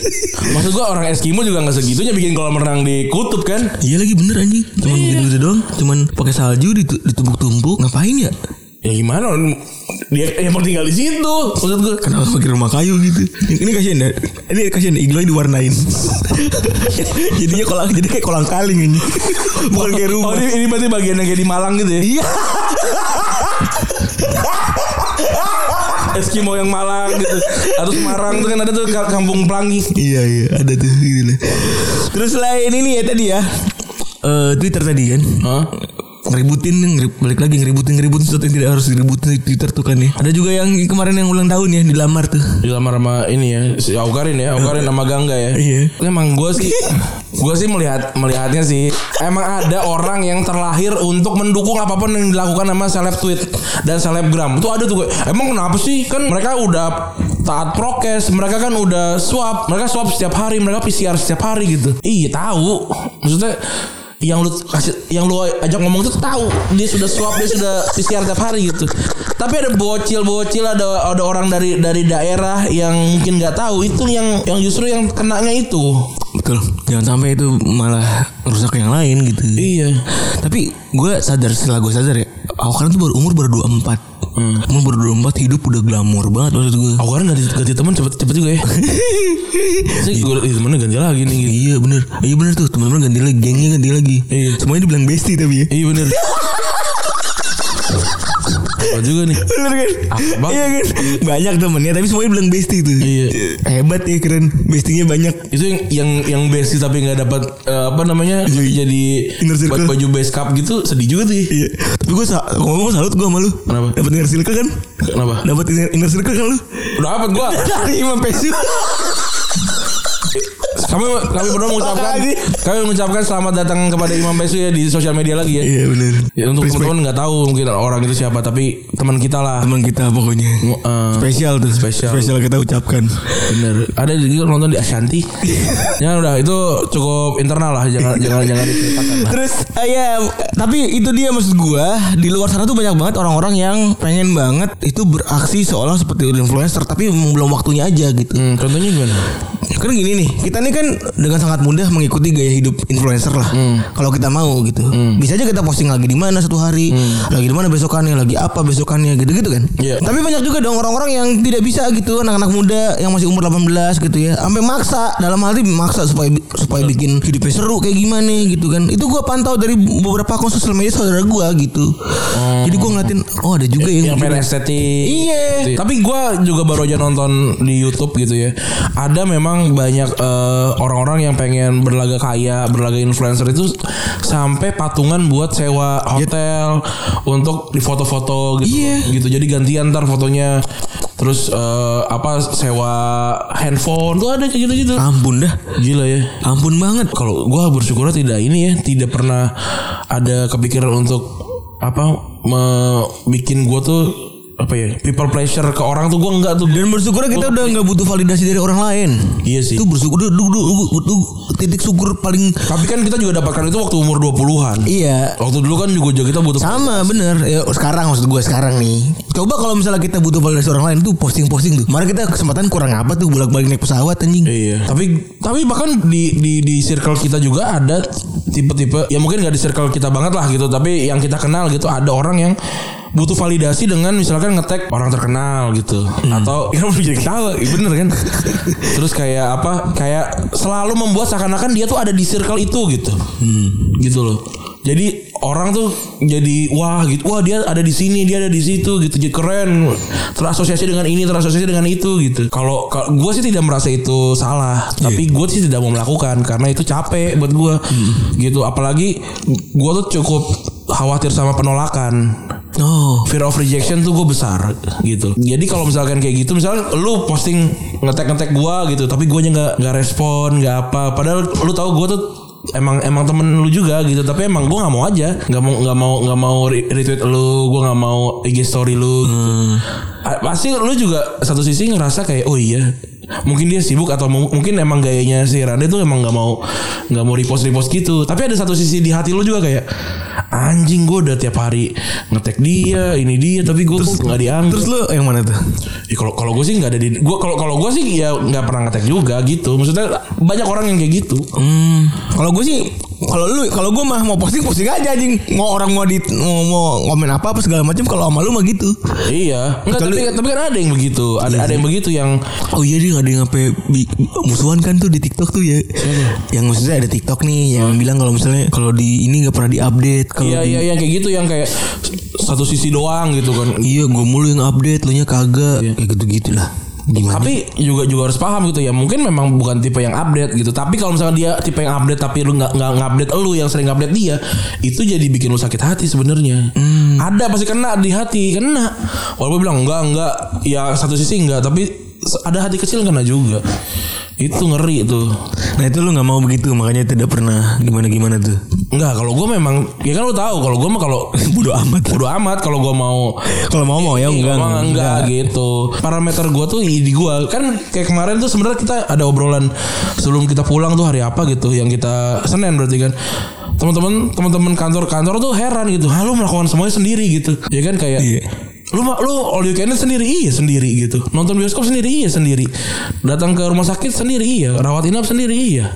Speaker 2: Maksud gue orang Eskimo juga gak segitunya bikin kolam renang di kutub kan
Speaker 3: Iya lagi bener anjing Cuman gitu gitu doang Cuman pakai salju ditu- ditumbuk-tumbuk Ngapain ya
Speaker 2: Ya gimana orang- dia yang mau tinggal di situ maksud gue.
Speaker 3: Kenapa pakai rumah kayu gitu Ini kasihan ya Ini kasihan ya Igloy diwarnain Jadinya kolang Jadi kayak kolang kaling ini Bukan kayak
Speaker 2: Oh
Speaker 3: rumah
Speaker 2: ini, ini berarti bagian yang kayak di Malang gitu ya?
Speaker 3: Iya
Speaker 2: Eskimo yang Malang gitu. Atau Semarang tuh kan ada tuh ka- kampung pelangi.
Speaker 3: Iya iya ada tuh gitu lah. Terus lain ini ya tadi ya eh Twitter tadi kan
Speaker 2: Hah?
Speaker 3: ngeributin ngerib- balik lagi ngeributin ngeributin sesuatu yang tidak harus diributin di Twitter tuh kan ya ada juga yang kemarin yang ulang tahun ya dilamar tuh
Speaker 2: Dilamar sama ini ya, si Aukarin ya, Aukarin sama Gangga ya.
Speaker 3: Iya.
Speaker 2: Emang gue sih, gue sih melihat melihatnya sih, emang ada orang yang terlahir untuk mendukung apapun yang dilakukan sama seleb tweet dan selebgram. Itu ada tuh. kayak, Emang kenapa sih? Kan mereka udah taat prokes, mereka kan udah swab, mereka swab setiap hari, mereka PCR setiap hari gitu. Iya tahu, maksudnya yang lu kasih yang lu ajak ngomong itu tahu dia sudah swab dia sudah PCR tiap hari gitu tapi ada bocil-bocil ada ada orang dari dari daerah yang mungkin nggak tahu itu yang yang justru yang kenanya itu
Speaker 3: betul jangan sampai itu malah rusak yang lain gitu
Speaker 2: iya
Speaker 3: tapi gue sadar setelah gue sadar ya aku kan tuh baru umur baru 24
Speaker 2: Hmm.
Speaker 3: umur baru 24 hidup udah glamour banget maksud gue
Speaker 2: aku kan ganti ganti teman cepet cepet juga ya sih gue ih, temennya ganti lagi nih gitu.
Speaker 3: iya bener iya bener tuh teman-teman ganti lagi gengnya ganti lagi
Speaker 2: Iya.
Speaker 3: semuanya dibilang bestie tapi ya
Speaker 2: iya bener Apa juga nih?
Speaker 3: Bener kan?
Speaker 2: Ah, Bang.
Speaker 3: Iya kan? Banyak temennya tapi semuanya bilang bestie tuh.
Speaker 2: Iya.
Speaker 3: Hebat ya keren. Bestinya banyak.
Speaker 2: itu yang yang yang basic tapi nggak dapat eh, apa namanya
Speaker 3: Jadi-
Speaker 2: jadi
Speaker 3: Iya, inner
Speaker 2: buat
Speaker 3: circle.
Speaker 2: baju base cup gitu sedih juga sih
Speaker 3: Iya. Tapi gue sa ngomong salut gue sama lu.
Speaker 2: Kenapa?
Speaker 3: Dapat inner circle kan?
Speaker 2: Kenapa?
Speaker 3: Dapat inner, inner circle kan lu?
Speaker 2: udah dapat gua
Speaker 3: Dari Imam Pesu.
Speaker 2: kami kami berdua mengucapkan
Speaker 3: Lagi.
Speaker 2: kami mengucapkan selamat datang kepada Imam Besu ya di sosial media lagi ya,
Speaker 3: Iya bener.
Speaker 2: Ya, untuk
Speaker 3: Respect.
Speaker 2: teman-teman nggak tahu mungkin orang itu siapa tapi teman kita lah
Speaker 3: Teman kita pokoknya.
Speaker 2: Eh,
Speaker 3: Spesial tuh.
Speaker 2: Spesial.
Speaker 3: Spesial kita ucapkan.
Speaker 2: bener ada juga nonton di Ashanti ya udah itu cukup internal lah jangan jangan jangan diceritakan lah.
Speaker 3: Terus eh, ya tapi itu dia maksud gua di luar sana tuh banyak banget orang-orang yang pengen banget itu beraksi seolah seperti influencer tapi emang belum waktunya aja gitu.
Speaker 2: Hmm, contohnya gimana
Speaker 3: Kan gini nih, kita nih kan dengan sangat mudah mengikuti gaya hidup influencer lah.
Speaker 2: Hmm.
Speaker 3: Kalau kita mau gitu. Bisa aja kita posting lagi di mana satu hari, lagi di mana besokannya, lagi apa besokannya gitu-gitu kan.
Speaker 2: Hmm. Iya.
Speaker 3: Tapi banyak juga dong orang-orang yang tidak bisa gitu, anak-anak muda yang masih umur 18 gitu ya. Sampai maksa dalam hal ini maksa supaya supaya bikin hidupnya seru kayak gimana gitu kan. Itu gua pantau dari beberapa akun sosial media saudara gua gitu. Jadi gua ngeliatin oh ada juga
Speaker 2: Hmm.
Speaker 3: yang,
Speaker 2: yang pengen estetik
Speaker 3: Iya.
Speaker 2: Gitu ya. Tapi gue juga baru aja nonton di YouTube gitu ya. Ada memang banyak eh, orang-orang yang pengen berlaga kaya, berlaga influencer itu sampai patungan buat sewa hotel untuk di foto-foto gitu.
Speaker 3: Iya.
Speaker 2: Gitu. Jadi gantian ntar fotonya. Terus eh, apa sewa handphone tuh ada kayak gitu-gitu.
Speaker 3: Ampun dah.
Speaker 2: Gila ya.
Speaker 3: Ampun banget.
Speaker 2: Kalau gue bersyukur tidak ini ya, tidak pernah ada kepikiran untuk apa me- bikin gue tuh apa ya people pleasure ke orang tuh gue enggak tuh
Speaker 3: Dan bersyukurnya kita udah nggak butuh validasi dari orang lain.
Speaker 2: Iya sih.
Speaker 3: Itu bersyukur dulu dulu titik syukur paling
Speaker 2: Tapi kan kita juga dapatkan itu waktu umur 20-an.
Speaker 3: iya.
Speaker 2: Waktu dulu kan juga kita butuh
Speaker 3: Sama bener ya, Sekarang maksud gue sekarang nih Coba kalau misalnya kita butuh validasi orang lain tuh posting-posting tuh Kemarin kita kesempatan kurang apa tuh bolak-balik naik pesawat anjing
Speaker 2: Iya. Tapi tapi bahkan di di di circle kita juga ada tipe-tipe ya mungkin nggak di circle kita banget lah gitu, tapi yang kita kenal gitu ada orang yang butuh validasi dengan misalkan ngetek orang terkenal gitu atau ya jadi ketawa Iya, bener kan terus kayak apa kayak selalu membuat seakan-akan dia tuh ada di circle itu gitu gitu loh jadi orang tuh jadi wah gitu wah dia ada di sini dia ada di situ gitu jadi keren terasosiasi dengan ini terasosiasi dengan itu gitu kalau gue sih tidak merasa itu salah tapi gue sih tidak mau melakukan karena itu capek buat gue gitu apalagi gue tuh cukup khawatir sama penolakan
Speaker 3: Oh
Speaker 2: fear of rejection tuh gue besar gitu. Jadi kalau misalkan kayak gitu, misalkan lu posting ngetek ngetek gue gitu, tapi gue nya nggak nggak respon, nggak apa. Padahal lu tahu gue tuh emang emang temen lu juga gitu tapi emang gue nggak mau aja nggak mau nggak mau nggak mau re- retweet lu gue nggak mau IG story lu gitu. A- pasti lu juga satu sisi ngerasa kayak oh iya mungkin dia sibuk atau mu- mungkin emang gayanya si Rande tuh emang nggak mau nggak mau repost repost gitu tapi ada satu sisi di hati lu juga kayak anjing gue udah tiap hari ngetek dia ini dia tapi gue kok nggak diangkat
Speaker 3: Terus lu yang mana tuh?
Speaker 2: Ya, kalau kalau gue sih nggak ada di gue kalau kalau gue sih ya nggak pernah ngetek juga gitu maksudnya banyak orang yang kayak gitu
Speaker 3: Hmm, kalau gue sih kalau lu kalau gue mah mau posting posting aja anjing mau orang mau di mau, mau komen apa apa segala macam kalau sama lu mah gitu
Speaker 2: iya Nggak, tapi
Speaker 3: Kecuali- Iya
Speaker 2: tapi kan ada yang begitu ada ada yang begitu yang
Speaker 3: Oh iya dia ada yang sampai bi- musuhan kan tuh di TikTok tuh ya. Yang maksudnya ada TikTok nih yang bilang kalau misalnya kalau di ini nggak pernah diupdate kalau
Speaker 2: iya
Speaker 3: di-
Speaker 2: iya yang kayak gitu yang kayak satu sisi doang gitu kan
Speaker 3: Iya, gue mulu yang update, lu nya kagak. Kayak gitu-gitu lah. Gimana?
Speaker 2: tapi juga juga harus paham gitu ya mungkin memang bukan tipe yang update gitu tapi kalau misalnya dia tipe yang update tapi lu nggak nggak update lu yang sering update dia itu jadi bikin lu sakit hati sebenarnya ada pasti kena di hati kena walaupun bilang enggak enggak ya satu sisi enggak tapi se- ada hati kecil kena juga itu ngeri tuh
Speaker 3: Nah itu lu nggak mau begitu, makanya tidak pernah gimana-gimana tuh.
Speaker 2: enggak kalau gue memang ya kan lu tahu kalau gue mah kalau
Speaker 3: Bodoh amat.
Speaker 2: bodo amat kalau gue mau
Speaker 3: Kalau mau mau ya
Speaker 4: Iya,
Speaker 3: enggak.
Speaker 2: Enggak, enggak, gitu. Parameter gua tuh i- di gua kan kayak kemarin tuh sebenarnya kita ada obrolan sebelum kita pulang tuh hari apa gitu yang kita Senin berarti kan. Teman-teman teman-teman kantor-kantor tuh heran gitu. Halo melakukan semuanya sendiri gitu. Ya kan kayak
Speaker 3: Iya.
Speaker 2: Lu ma- lu all you can eat sendiri iya sendiri gitu. Nonton bioskop sendiri iya sendiri. Datang ke rumah sakit sendiri iya, rawat inap sendiri iya.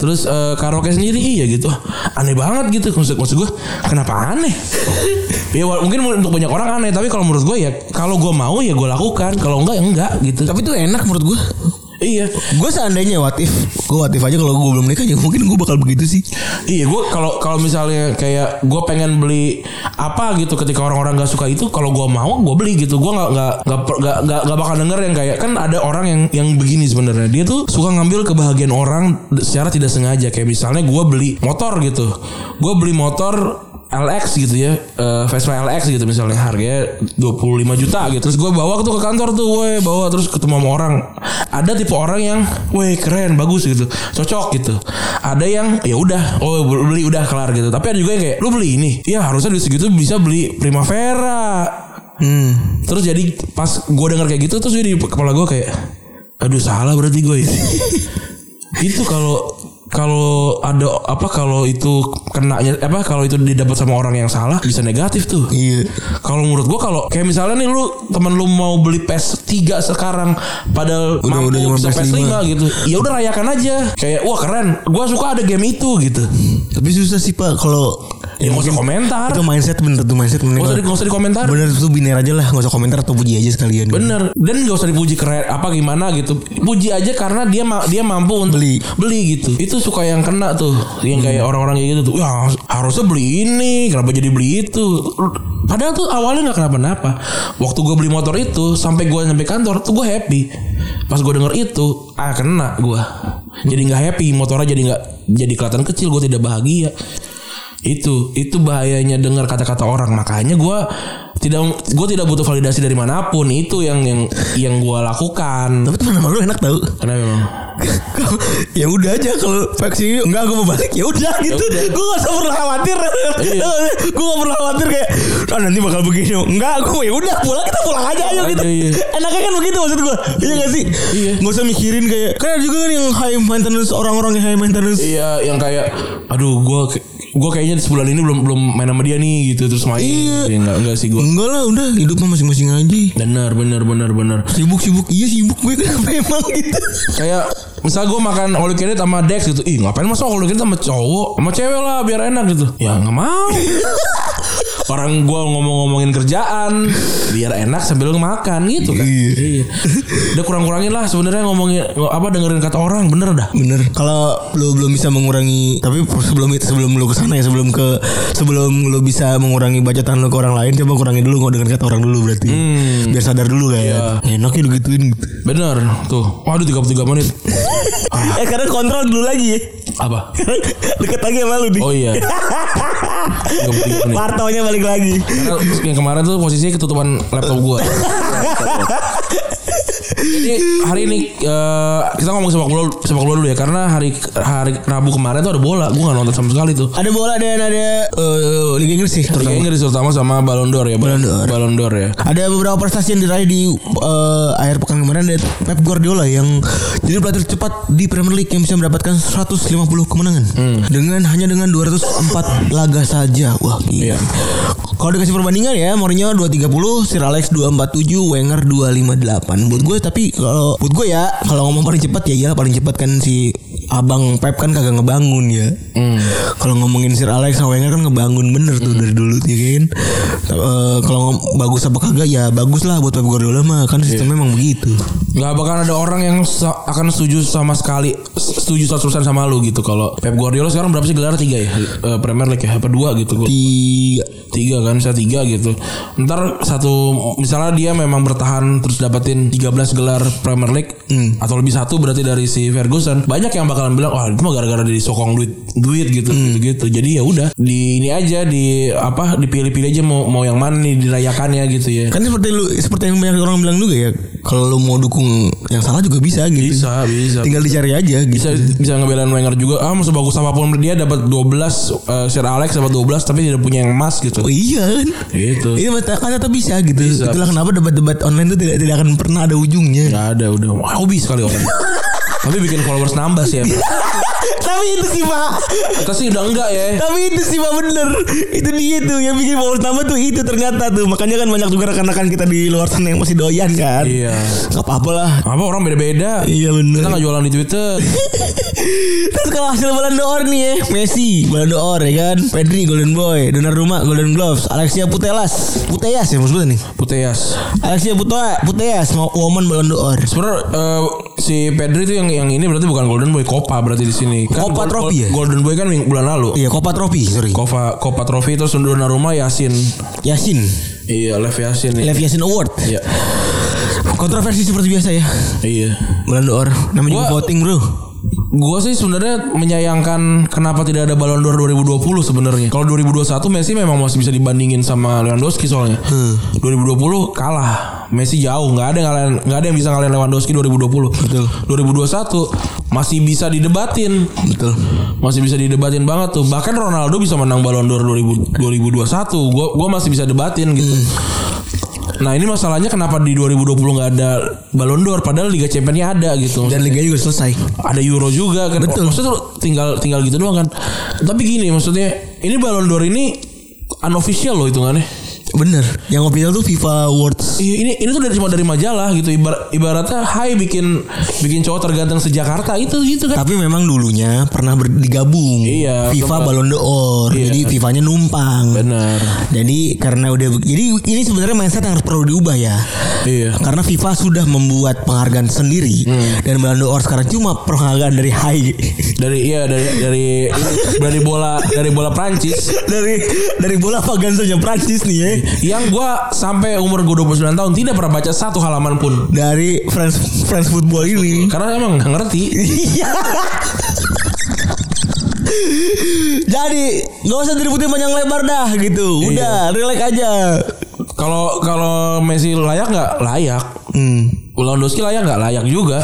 Speaker 2: Terus eh, karaoke sendiri iya gitu. Aneh banget gitu maksud maksud gua, kenapa aneh? ya wa- mungkin untuk banyak orang aneh, tapi kalau menurut gua ya kalau gua mau ya gua lakukan, kalau enggak ya enggak gitu.
Speaker 3: Tapi itu enak menurut gue.
Speaker 2: Iya.
Speaker 4: Gue seandainya what if Gue what if aja kalau gue belum nikah ya mungkin gue bakal begitu sih
Speaker 2: Iya, gue kalau kalau misalnya kayak gue pengen beli apa gitu ketika orang-orang gak suka itu, kalau gue mau gue beli gitu. Gue nggak nggak nggak per- nggak nggak nggak bakal denger yang kayak kan ada orang yang yang begini sebenarnya dia tuh suka ngambil kebahagiaan orang secara tidak sengaja. Kayak misalnya gue beli motor gitu, gue beli motor LX gitu ya eh, Vespa LX gitu misalnya harganya 25 juta gitu terus gue bawa tuh ke kantor tuh weh bawa terus ketemu sama orang ada tipe orang yang weh keren bagus gitu cocok gitu ada yang ya udah oh beli udah kelar gitu tapi ada juga yang kayak lu beli ini ya harusnya di segitu bisa beli Primavera
Speaker 4: Hmm
Speaker 2: terus jadi pas gue denger kayak gitu terus jadi kepala gue kayak aduh salah berarti gue ya itu kalau kalau ada apa kalau itu kenanya apa kalau itu didapat sama orang yang salah bisa negatif tuh.
Speaker 4: Iya
Speaker 2: Kalau menurut gua kalau kayak misalnya nih lu teman lu mau beli PS3 sekarang padahal
Speaker 4: Udah- udah zaman
Speaker 2: bisa
Speaker 4: PS5.
Speaker 2: gitu. Ya udah rayakan aja. Kayak wah keren, gua suka ada game itu gitu.
Speaker 4: Tapi susah sih pak kalau
Speaker 2: Ya nggak usah komentar.
Speaker 4: Itu mindset bener tuh mindset
Speaker 2: Nggak
Speaker 4: bener
Speaker 2: usah di- nggak usah dikomentar.
Speaker 4: Bener tuh biner aja lah Gak usah komentar atau puji aja sekalian
Speaker 3: gitu.
Speaker 2: Bener dan gak usah dipuji keren apa gimana gitu puji aja karena dia ma- dia mampu untuk
Speaker 4: Beli.
Speaker 2: beli gitu itu suka yang kena tuh yang kayak orang-orang kayak gitu tuh ya harusnya beli ini kenapa jadi beli itu padahal tuh awalnya nggak kenapa-napa waktu gue beli motor itu sampai gue nyampe kantor tuh gue happy pas gue denger itu ah kena gue jadi nggak happy motornya jadi nggak jadi kelihatan kecil gue tidak bahagia itu itu bahayanya dengar kata-kata orang makanya gua tidak gue tidak butuh validasi dari manapun itu yang yang yang gue lakukan
Speaker 4: Tapi teman sama lu enak tau
Speaker 2: karena memang
Speaker 4: ya udah aja kalau vaksin ini enggak gue mau balik ya udah gitu gue gak usah perlu khawatir gue gak perlu khawatir kayak ah nanti bakal begini enggak gue ya udah pulang kita pulang aja ayo gitu
Speaker 2: Iya, iya.
Speaker 4: enaknya kan begitu maksud gue iya gak sih
Speaker 2: Iya.
Speaker 4: gak usah mikirin kayak kan ada juga kan yang high maintenance orang-orang yang high maintenance
Speaker 2: iya yang kayak aduh gue gue kayaknya di sebulan ini belum belum main sama dia nih gitu terus main
Speaker 4: Iya.
Speaker 2: Ya, enggak enggak sih gue
Speaker 4: enggak lah udah hidup mah masing-masing aja
Speaker 2: benar benar benar benar
Speaker 4: sibuk-sibuk iya sibuk gue kenapa emang gitu
Speaker 2: kayak misal gue makan all you can eat sama Dex gitu ih ngapain masa all you can eat sama cowok sama cewek lah biar enak gitu ya nggak mau orang gue ngomong-ngomongin kerjaan biar enak sambil makan gitu kan
Speaker 4: Iya.
Speaker 2: iya. udah kurang-kurangin lah sebenarnya ngomongin apa dengerin kata orang bener dah
Speaker 4: Bener. Kalau lu belum bisa mengurangi, tapi sebelum itu sebelum lu kesana ya, sebelum ke sebelum lu bisa mengurangi bacotan lu ke orang lain, coba kurangi dulu nggak dengan kata orang dulu berarti. Biar sadar dulu kayak. Enak ya digituin gitu.
Speaker 2: bener tuh waduh 33 menit
Speaker 4: Eh karena kontrol dulu lagi ya.
Speaker 2: apa
Speaker 4: Deket lagi sama lu di.
Speaker 2: oh iya 33
Speaker 4: iya.
Speaker 2: menit
Speaker 4: Martonya balik lagi.
Speaker 2: Karena yang kemarin tuh posisinya ketutupan laptop gua. Jadi hari ini eh, kita ngomong sepak bola sepak bola dulu ya karena hari hari Rabu kemarin tuh ada bola, gua nggak nonton sama sekali tuh.
Speaker 4: Ada bola dan ada eh, Liga Inggris sih
Speaker 2: Liga
Speaker 4: terutama.
Speaker 2: Inggris terutama sama Ballon d'Or ya.
Speaker 4: Ballon d'Or.
Speaker 2: Ballon d'Or ya.
Speaker 4: Ada beberapa prestasi yang diraih di eh, akhir pekan kemarin ada Pep Guardiola yang jadi pelatih cepat di Premier League yang bisa mendapatkan 150 kemenangan dengan hanya dengan 204 laga saja. Wah, gila.
Speaker 2: Iya.
Speaker 4: Kalau dikasih perbandingan ya, Mourinho 230, Sir Alex 247, Wenger 258. Buat gue tapi kalau buat gue ya, kalau ngomong paling cepat ya iyalah paling cepat kan si Abang Pep kan kagak ngebangun ya. Kalau ngomongin Sir Alex sama Wenger kan ngebangun bener tuh dari dulu ya kan. Eh, kalau ngom- bagus apa kagak ya bagus lah buat Pep Guardiola mah kan sistemnya emang begitu.
Speaker 2: Gak bakal ada orang yang sa- akan setuju sama sekali setuju 100% sama lu gitu kalau Pep Guardiola sekarang berapa sih gelar tiga ya Eh, Premier League ya apa dua gitu gua.
Speaker 4: Di
Speaker 2: tiga kan misalnya tiga gitu ntar satu misalnya dia memang bertahan terus dapetin 13 gelar Premier League atau lebih satu berarti dari si Ferguson banyak yang bakalan bilang wah itu mah gara-gara dari sokong duit duit gitu gitu jadi ya udah di ini aja di apa dipilih-pilih aja mau mau yang mana nih dirayakannya gitu ya
Speaker 4: kan seperti lu seperti yang banyak orang bilang juga ya kalau lu mau dukung yang salah juga bisa gitu.
Speaker 2: bisa bisa
Speaker 4: Tinggal dicari aja gitu.
Speaker 2: bisa bisa ngebelain Wenger juga ah mau sebagus apapun dia dapat 12 eh, Sir Alex dapat 12 tapi tidak punya yang emas gitu
Speaker 4: Oh iya kan?
Speaker 2: Gitu.
Speaker 4: Itu mata kan tetap bisa Iya. gitu.
Speaker 2: Bisa.
Speaker 4: Itulah kenapa debat-debat online itu tidak tidak akan pernah ada ujungnya.
Speaker 2: Gak ada udah hobi sekali orang Tapi bikin followers nambah sih ya.
Speaker 4: Tapi itu sih pak
Speaker 2: Kita sih udah enggak ya.
Speaker 4: Tapi itu sih pak bener Itu dia tuh Yang bikin followers nambah tuh itu ternyata tuh Makanya kan banyak juga rekan-rekan kita di luar sana yang masih doyan kan
Speaker 2: Iya.
Speaker 4: Gak apa-apa lah
Speaker 2: Apa orang beda-beda.
Speaker 4: Iya bener
Speaker 2: Kita nggak jualan di Twitter.
Speaker 4: Terus kalau hasil Ballon d'Or nih ya Messi Ballon d'Or ya kan Pedri Golden Boy Donnarumma Golden Gloves Alexia Putelas Puteas ya maksudnya nih
Speaker 2: Puteas.
Speaker 4: Alexia Putea Puteas mau Woman Ballon d'Or
Speaker 2: Sebenarnya eh, si Pedri itu yang yang ini berarti bukan Golden Boy, Copa berarti di sini. Kan
Speaker 4: Copa
Speaker 2: Gol-
Speaker 4: Trophy ya?
Speaker 2: Golden Boy kan ming- bulan lalu.
Speaker 4: Iya Copa Trophy sorry
Speaker 2: Copa Copa Trophy terus Donnarumma Yasin.
Speaker 4: Yasin
Speaker 2: Iya, Lev Yasin. Iya.
Speaker 4: Lev Yasin Award
Speaker 2: Iya.
Speaker 4: Kontroversi seperti biasa ya
Speaker 2: Iya.
Speaker 4: Ballon d'Or Namanya juga
Speaker 2: Gua-
Speaker 4: voting bro
Speaker 2: Gua sih sebenarnya menyayangkan kenapa tidak ada Ballon d'Or 2020 sebenarnya. Kalau 2021 Messi memang masih bisa dibandingin sama Lewandowski soalnya.
Speaker 4: Hmm.
Speaker 2: 2020 kalah. Messi jauh, nggak ada yang ngalahin, nggak ada yang bisa ngalahin Lewandowski 2020.
Speaker 4: Betul.
Speaker 2: 2021 masih bisa didebatin.
Speaker 4: Betul
Speaker 2: Masih bisa didebatin banget tuh. Bahkan Ronaldo bisa menang Ballon d'Or 2000 2021. Gua gua masih bisa debatin gitu.
Speaker 4: Hmm.
Speaker 2: Nah, ini masalahnya kenapa di 2020 nggak ada Ballon d'Or padahal Liga Champions-nya ada gitu
Speaker 4: Dan liga juga selesai
Speaker 2: ada Euro juga kan.
Speaker 4: Betul.
Speaker 2: Maksudnya tuh tinggal tinggal gitu doang kan. Tapi gini maksudnya ini Ballon d'Or ini unofficial loh hitungannya.
Speaker 4: Bener Yang official tuh FIFA Awards
Speaker 2: Iya ini ini tuh dari cuma dari majalah gitu Ibar- ibaratnya hai bikin bikin cowok terganteng sejakarta itu gitu kan.
Speaker 4: Tapi memang dulunya pernah ber- digabung
Speaker 2: Iya,
Speaker 4: FIFA
Speaker 2: pernah.
Speaker 4: Ballon d'Or
Speaker 2: Iya.
Speaker 4: Jadi FIFA-nya numpang
Speaker 2: Benar.
Speaker 4: Jadi karena udah jadi ini sebenarnya mindset yang harus perlu diubah ya.
Speaker 2: Iya.
Speaker 4: Karena FIFA sudah membuat penghargaan sendiri dan Ballon d'Or sekarang cuma penghargaan dari high
Speaker 2: Dari iya dari dari dari bola dari bola Prancis
Speaker 4: dari dari bola pagan saja Prancis nih ya.
Speaker 2: yang gua sampai umur gua 29 tahun tidak pernah baca satu halaman pun.
Speaker 4: Dari France France football ini.
Speaker 2: Karena emang nggak ngerti.
Speaker 4: Iya. Jadi nggak usah diributin panjang lebar dah gitu. Udah, relax aja.
Speaker 2: Kalau kalau Messi layak nggak layak.
Speaker 4: Hmm.
Speaker 2: Lewandowski layak nggak layak juga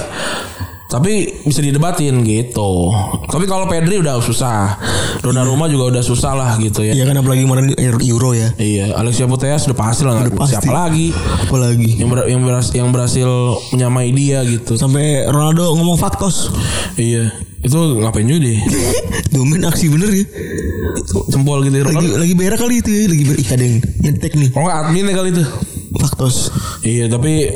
Speaker 2: tapi bisa didebatin gitu tapi kalau Pedri udah susah Donnarumma juga udah susah lah gitu ya
Speaker 4: Iya kan apalagi kemarin Euro ya.
Speaker 2: iya Alexia Putellas udah pasti lah nggak-
Speaker 4: pasti.
Speaker 2: siapa lagi
Speaker 4: Apalagi.
Speaker 2: yang ber- yang berhasil, yang berhasil menyamai dia gitu
Speaker 4: Sampai Ronaldo ngomong faktos.
Speaker 2: iya itu ngapain juga deh
Speaker 4: Domen aksi bener ya.
Speaker 2: Jempol gitu
Speaker 4: Lagi
Speaker 2: Ronaldo
Speaker 4: lagi berak kali itu ya, lagi berak Ih, ada yang nyetek nih.
Speaker 2: kalau nggak admin ya kali itu
Speaker 4: Faktos.
Speaker 2: iya tapi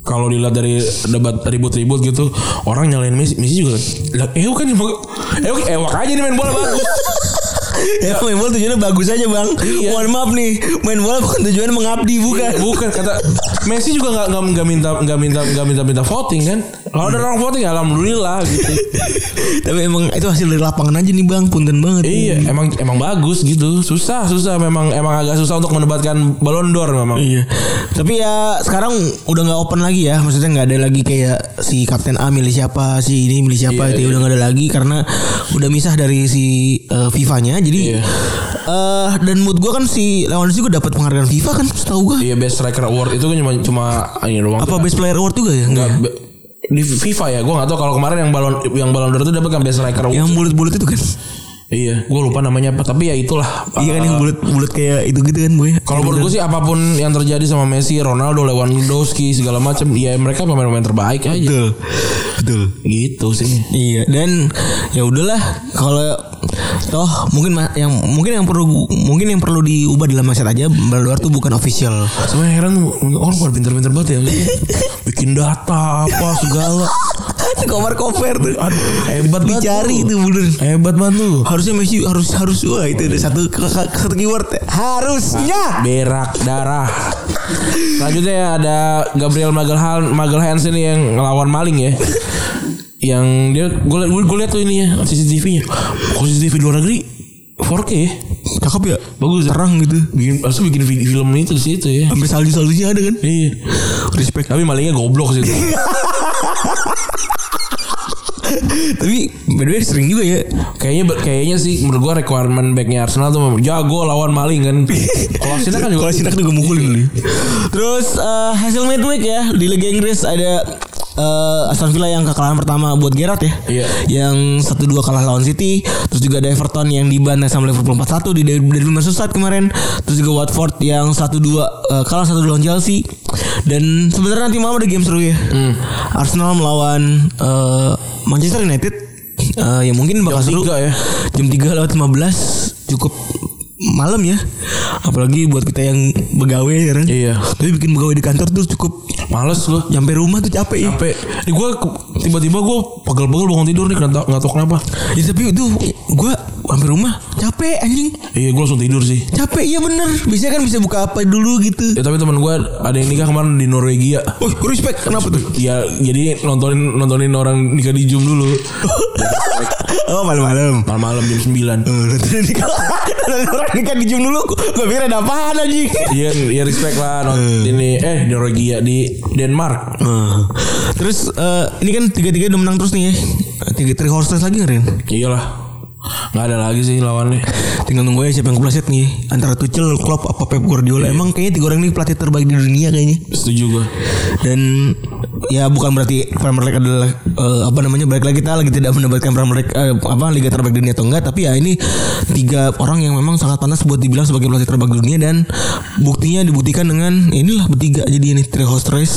Speaker 2: kalau dilihat dari debat ribut-ribut gitu orang nyalain Messi Messi juga lah, eh kan eh ewak aja nih main bola bagus
Speaker 4: Ya main bola tujuannya bagus aja, Bang. Mohon maaf nih, main bola bukan tujuannya mengabdi bukan.
Speaker 2: Bukan kata Messi juga nggak nggak nggak minta nggak minta nggak minta minta voting kan. Kalau ada orang voting ya alhamdulillah gitu.
Speaker 4: Tapi emang itu hasil dari lapangan aja nih, Bang. Punten banget.
Speaker 2: iya emang emang bagus gitu. Susah susah memang emang agak susah untuk mendebatkan Ballon d'Or memang.
Speaker 4: Iya. Tapi ya sekarang udah nggak open lagi ya. Maksudnya nggak ada lagi kayak si kapten A milih siapa, si ini milih siapa
Speaker 2: Iya,
Speaker 4: itu ya, udah nggak ada lagi karena udah misah dari si eh, FIFA-nya. Jadi eh
Speaker 2: Iya.
Speaker 4: dan mood gua kan si Lewandowski juga dapat penghargaan FIFA kan setahu gua.
Speaker 2: Iya best striker award itu kan cuma cuma ini doang.
Speaker 4: Apa best player award juga ya?
Speaker 2: Nggak, be- di FIFA ya gue nggak tahu kalau kemarin yang balon yang balon d'Or itu dapat kan best striker award.
Speaker 4: Yang bulat-bulat itu kan.
Speaker 2: Iya, gue lupa namanya apa tapi ya itulah.
Speaker 4: Iya kan yang bulat-bulat kayak itu gitu kan, Boy.
Speaker 2: Kalau menurut gue sih apapun yang terjadi sama Messi, Ronaldo, Lewandowski segala macam, ya mereka pemain-pemain terbaik aja.
Speaker 4: betul. Betul.
Speaker 2: Gitu sih.
Speaker 4: Iya dan ya udahlah kalau toh mungkin ma- yang mungkin yang perlu mungkin yang perlu diubah dalam masyarakat aja luar tuh bukan official.
Speaker 2: Sebenarnya heran orang pada pinter-pinter banget ya. Bikin data apa segala.
Speaker 4: Cover cover tuh.
Speaker 2: Aduh, hebat banget.
Speaker 4: Dicari
Speaker 2: lu.
Speaker 4: itu bener.
Speaker 2: Hebat banget lu.
Speaker 4: Harusnya Messi harus harus wah itu ada satu satu keyword harusnya.
Speaker 2: Berak darah. Selanjutnya ya ada Gabriel Magelhan Magelhans ini yang ngelawan maling ya. Yang dia gue gue, gue lihat tuh ini ya CCTV-nya. Kalau CCTV di luar negeri 4K ya.
Speaker 4: Cakep ya.
Speaker 2: Bagus ya.
Speaker 4: Terang gitu.
Speaker 2: Bikin harusnya bikin vi- film itu di situ ya.
Speaker 4: Sampai salju saljunya ada kan.
Speaker 2: Iya.
Speaker 4: Respect.
Speaker 2: Tapi malingnya goblok sih. itu.
Speaker 4: Tapi by the way sering juga ya.
Speaker 2: Kayaknya kayaknya sih menurut gua requirement backnya Arsenal tuh jago lawan maling kan. Kalau Arsenal kan juga
Speaker 4: Kalau Sinak juga mukulin dulu. Terus eh, hasil midweek ya di Liga Inggris ada eh, Aston Villa yang kekalahan pertama buat Gerrard ya.
Speaker 2: Iya.
Speaker 4: Yang satu dua kalah lawan City, terus juga ada Everton yang dibantai sama Liverpool 4-1 di derby derby Merseyside kemarin. Terus juga Watford yang 1-2 eh, kalah 1-2 lawan Chelsea.
Speaker 2: Hmm.
Speaker 4: Dan sebenarnya nanti malam ada game seru ya. Arsenal melawan eh, Manchester United eh, ya mungkin bakal seru.
Speaker 2: tiga ya.
Speaker 4: Jam 3 lewat 15 cukup malam ya. Apalagi buat kita yang begawe sekarang.
Speaker 2: Iya.
Speaker 4: Tapi bikin begawe di kantor tuh cukup
Speaker 2: Males gue.
Speaker 4: nyampe rumah tuh capek ya.
Speaker 2: Capek. Ini gue tiba-tiba gue pegel-pegel bangun tidur nih nggak tau nggak tau kenapa.
Speaker 4: Ya, tapi itu gua sampai rumah capek anjing.
Speaker 2: Iya gue langsung tidur sih.
Speaker 4: Capek iya bener Biasanya kan bisa buka apa dulu gitu
Speaker 2: Ya tapi teman gue ada yang nikah kemarin di Norwegia.
Speaker 4: Wih gue Oh, respect Kenapa tuh
Speaker 2: Ya jadi nontonin nontonin orang nikah di Zoom dulu
Speaker 4: Oh malam-malam
Speaker 2: malam-malam jam 9
Speaker 4: Eh, nonton nikah Orang nikah kan di gym dulu Gue pikir ada apaan anjing
Speaker 2: Iya, ya respect lah nont- ini eh di Norwegia di Denmark.
Speaker 4: Eh, Terus eh, Ini kan tiga-tiga udah menang terus nih ya Tiga three horses lagi ngerin
Speaker 2: Iyalah. Nggak ada lagi sih lawannya.
Speaker 4: Tinggal nunggu aja siapa yang kepleset nih Antara Tuchel, Klopp, apa Pep Guardiola Emang kayaknya tiga orang ini pelatih terbaik di dunia kayaknya
Speaker 2: Setuju gue.
Speaker 4: dan ya bukan berarti Premier League adalah eh, apa namanya balik lagi kita lagi tidak mendapatkan Premier League eh, apa liga terbaik dunia atau enggak tapi ya ini tiga orang yang memang sangat panas buat dibilang sebagai pelatih terbaik dunia dan buktinya dibuktikan dengan ya inilah bertiga jadi ini three horse race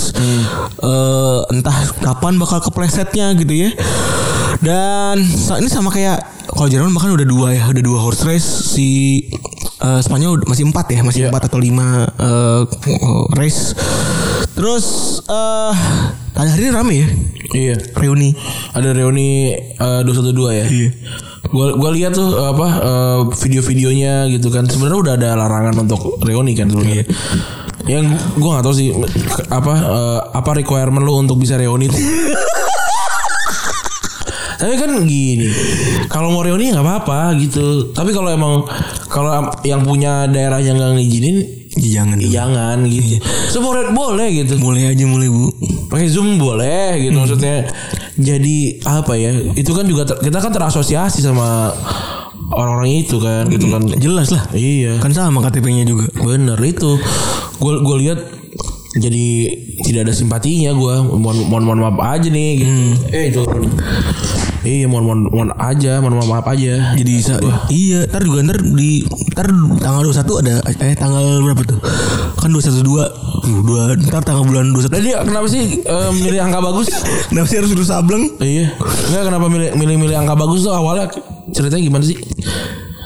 Speaker 4: Eh, entah kapan bakal keplesetnya gitu ya dan sa- ini sama kayak kalau Jerman bahkan udah dua ya udah dua horse race si eh, Spanyol masih empat ya masih empat atau lima eh, race Terus eh tadi hari ini rame ya
Speaker 2: Iya.
Speaker 4: reuni.
Speaker 2: Ada reuni dua satu dua ya.
Speaker 4: Iya.
Speaker 2: Gua gua lihat tuh eh, apa eh, video-videonya gitu kan. Sebenarnya udah ada larangan untuk reuni kan sebenarnya. Yang gua nggak tahu sih ke- apa eh, apa requirement lu untuk bisa reuni tuh. Tapi kan gini, kalau mau reuni ya nggak apa-apa gitu. Tapi kalau emang kalau am- yang punya daerahnya nggak ngizinin,
Speaker 4: jangan.
Speaker 2: ya jangan gitu. Semuanya boleh gitu.
Speaker 4: Mulai aja mulai bu. Hmm.
Speaker 2: Pakai Zoom boleh gitu maksudnya. Jadi apa ya? Itu kan juga ter- kita kan terasosiasi sama orang-orang itu kan gitu kan.
Speaker 4: Jelas lah.
Speaker 2: Iya.
Speaker 4: Kan sama KTP-nya juga.
Speaker 2: Bener itu. Gue gue lihat jadi tidak ada simpatinya gue mohon mohon mohon maaf aja nih gitu.
Speaker 4: Hmm.
Speaker 2: eh itu iya mohon mohon mohon aja mohon mohon maaf aja
Speaker 4: Jadi sa- iya, ntar juga ntar di ntar tanggal 21 ada eh tanggal berapa tuh? Kan 212. Tuh, dua ntar tanggal bulan 21.
Speaker 2: Lah dia kenapa sih eh, milih angka bagus
Speaker 4: Kenapa sih harus dulu sableng?
Speaker 2: iya nggak kenapa milih milih milih angka bagus tuh awalnya ceritanya gimana sih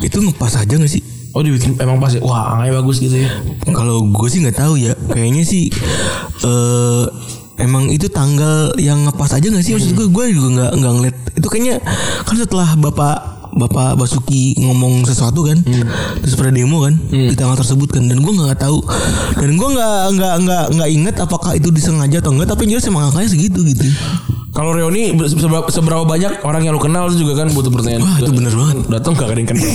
Speaker 4: Itu ngepas aja gak sih?
Speaker 2: oh dibikin emang pas ya wah angkanya bagus gitu ya
Speaker 4: Kalau gue sih nggak tahu ya. Kayaknya sih eh emang itu tanggal yang ngepas aja nggak sih? Maksud gue, gue juga nggak nggak ngeliat. Itu kayaknya kan setelah bapak Bapak Basuki ngomong sesuatu kan, terus pada demo kan di tanggal tersebut kan, dan gue nggak tahu, dan gue nggak nggak nggak nggak inget apakah itu disengaja atau enggak, tapi yang jelas emang angkanya segitu gitu.
Speaker 2: Kalau reuni be- seberapa, seberapa banyak orang yang lu kenal itu juga kan butuh pertanyaan.
Speaker 4: Wah itu bener banget.
Speaker 2: Datang gak ada yang kenal.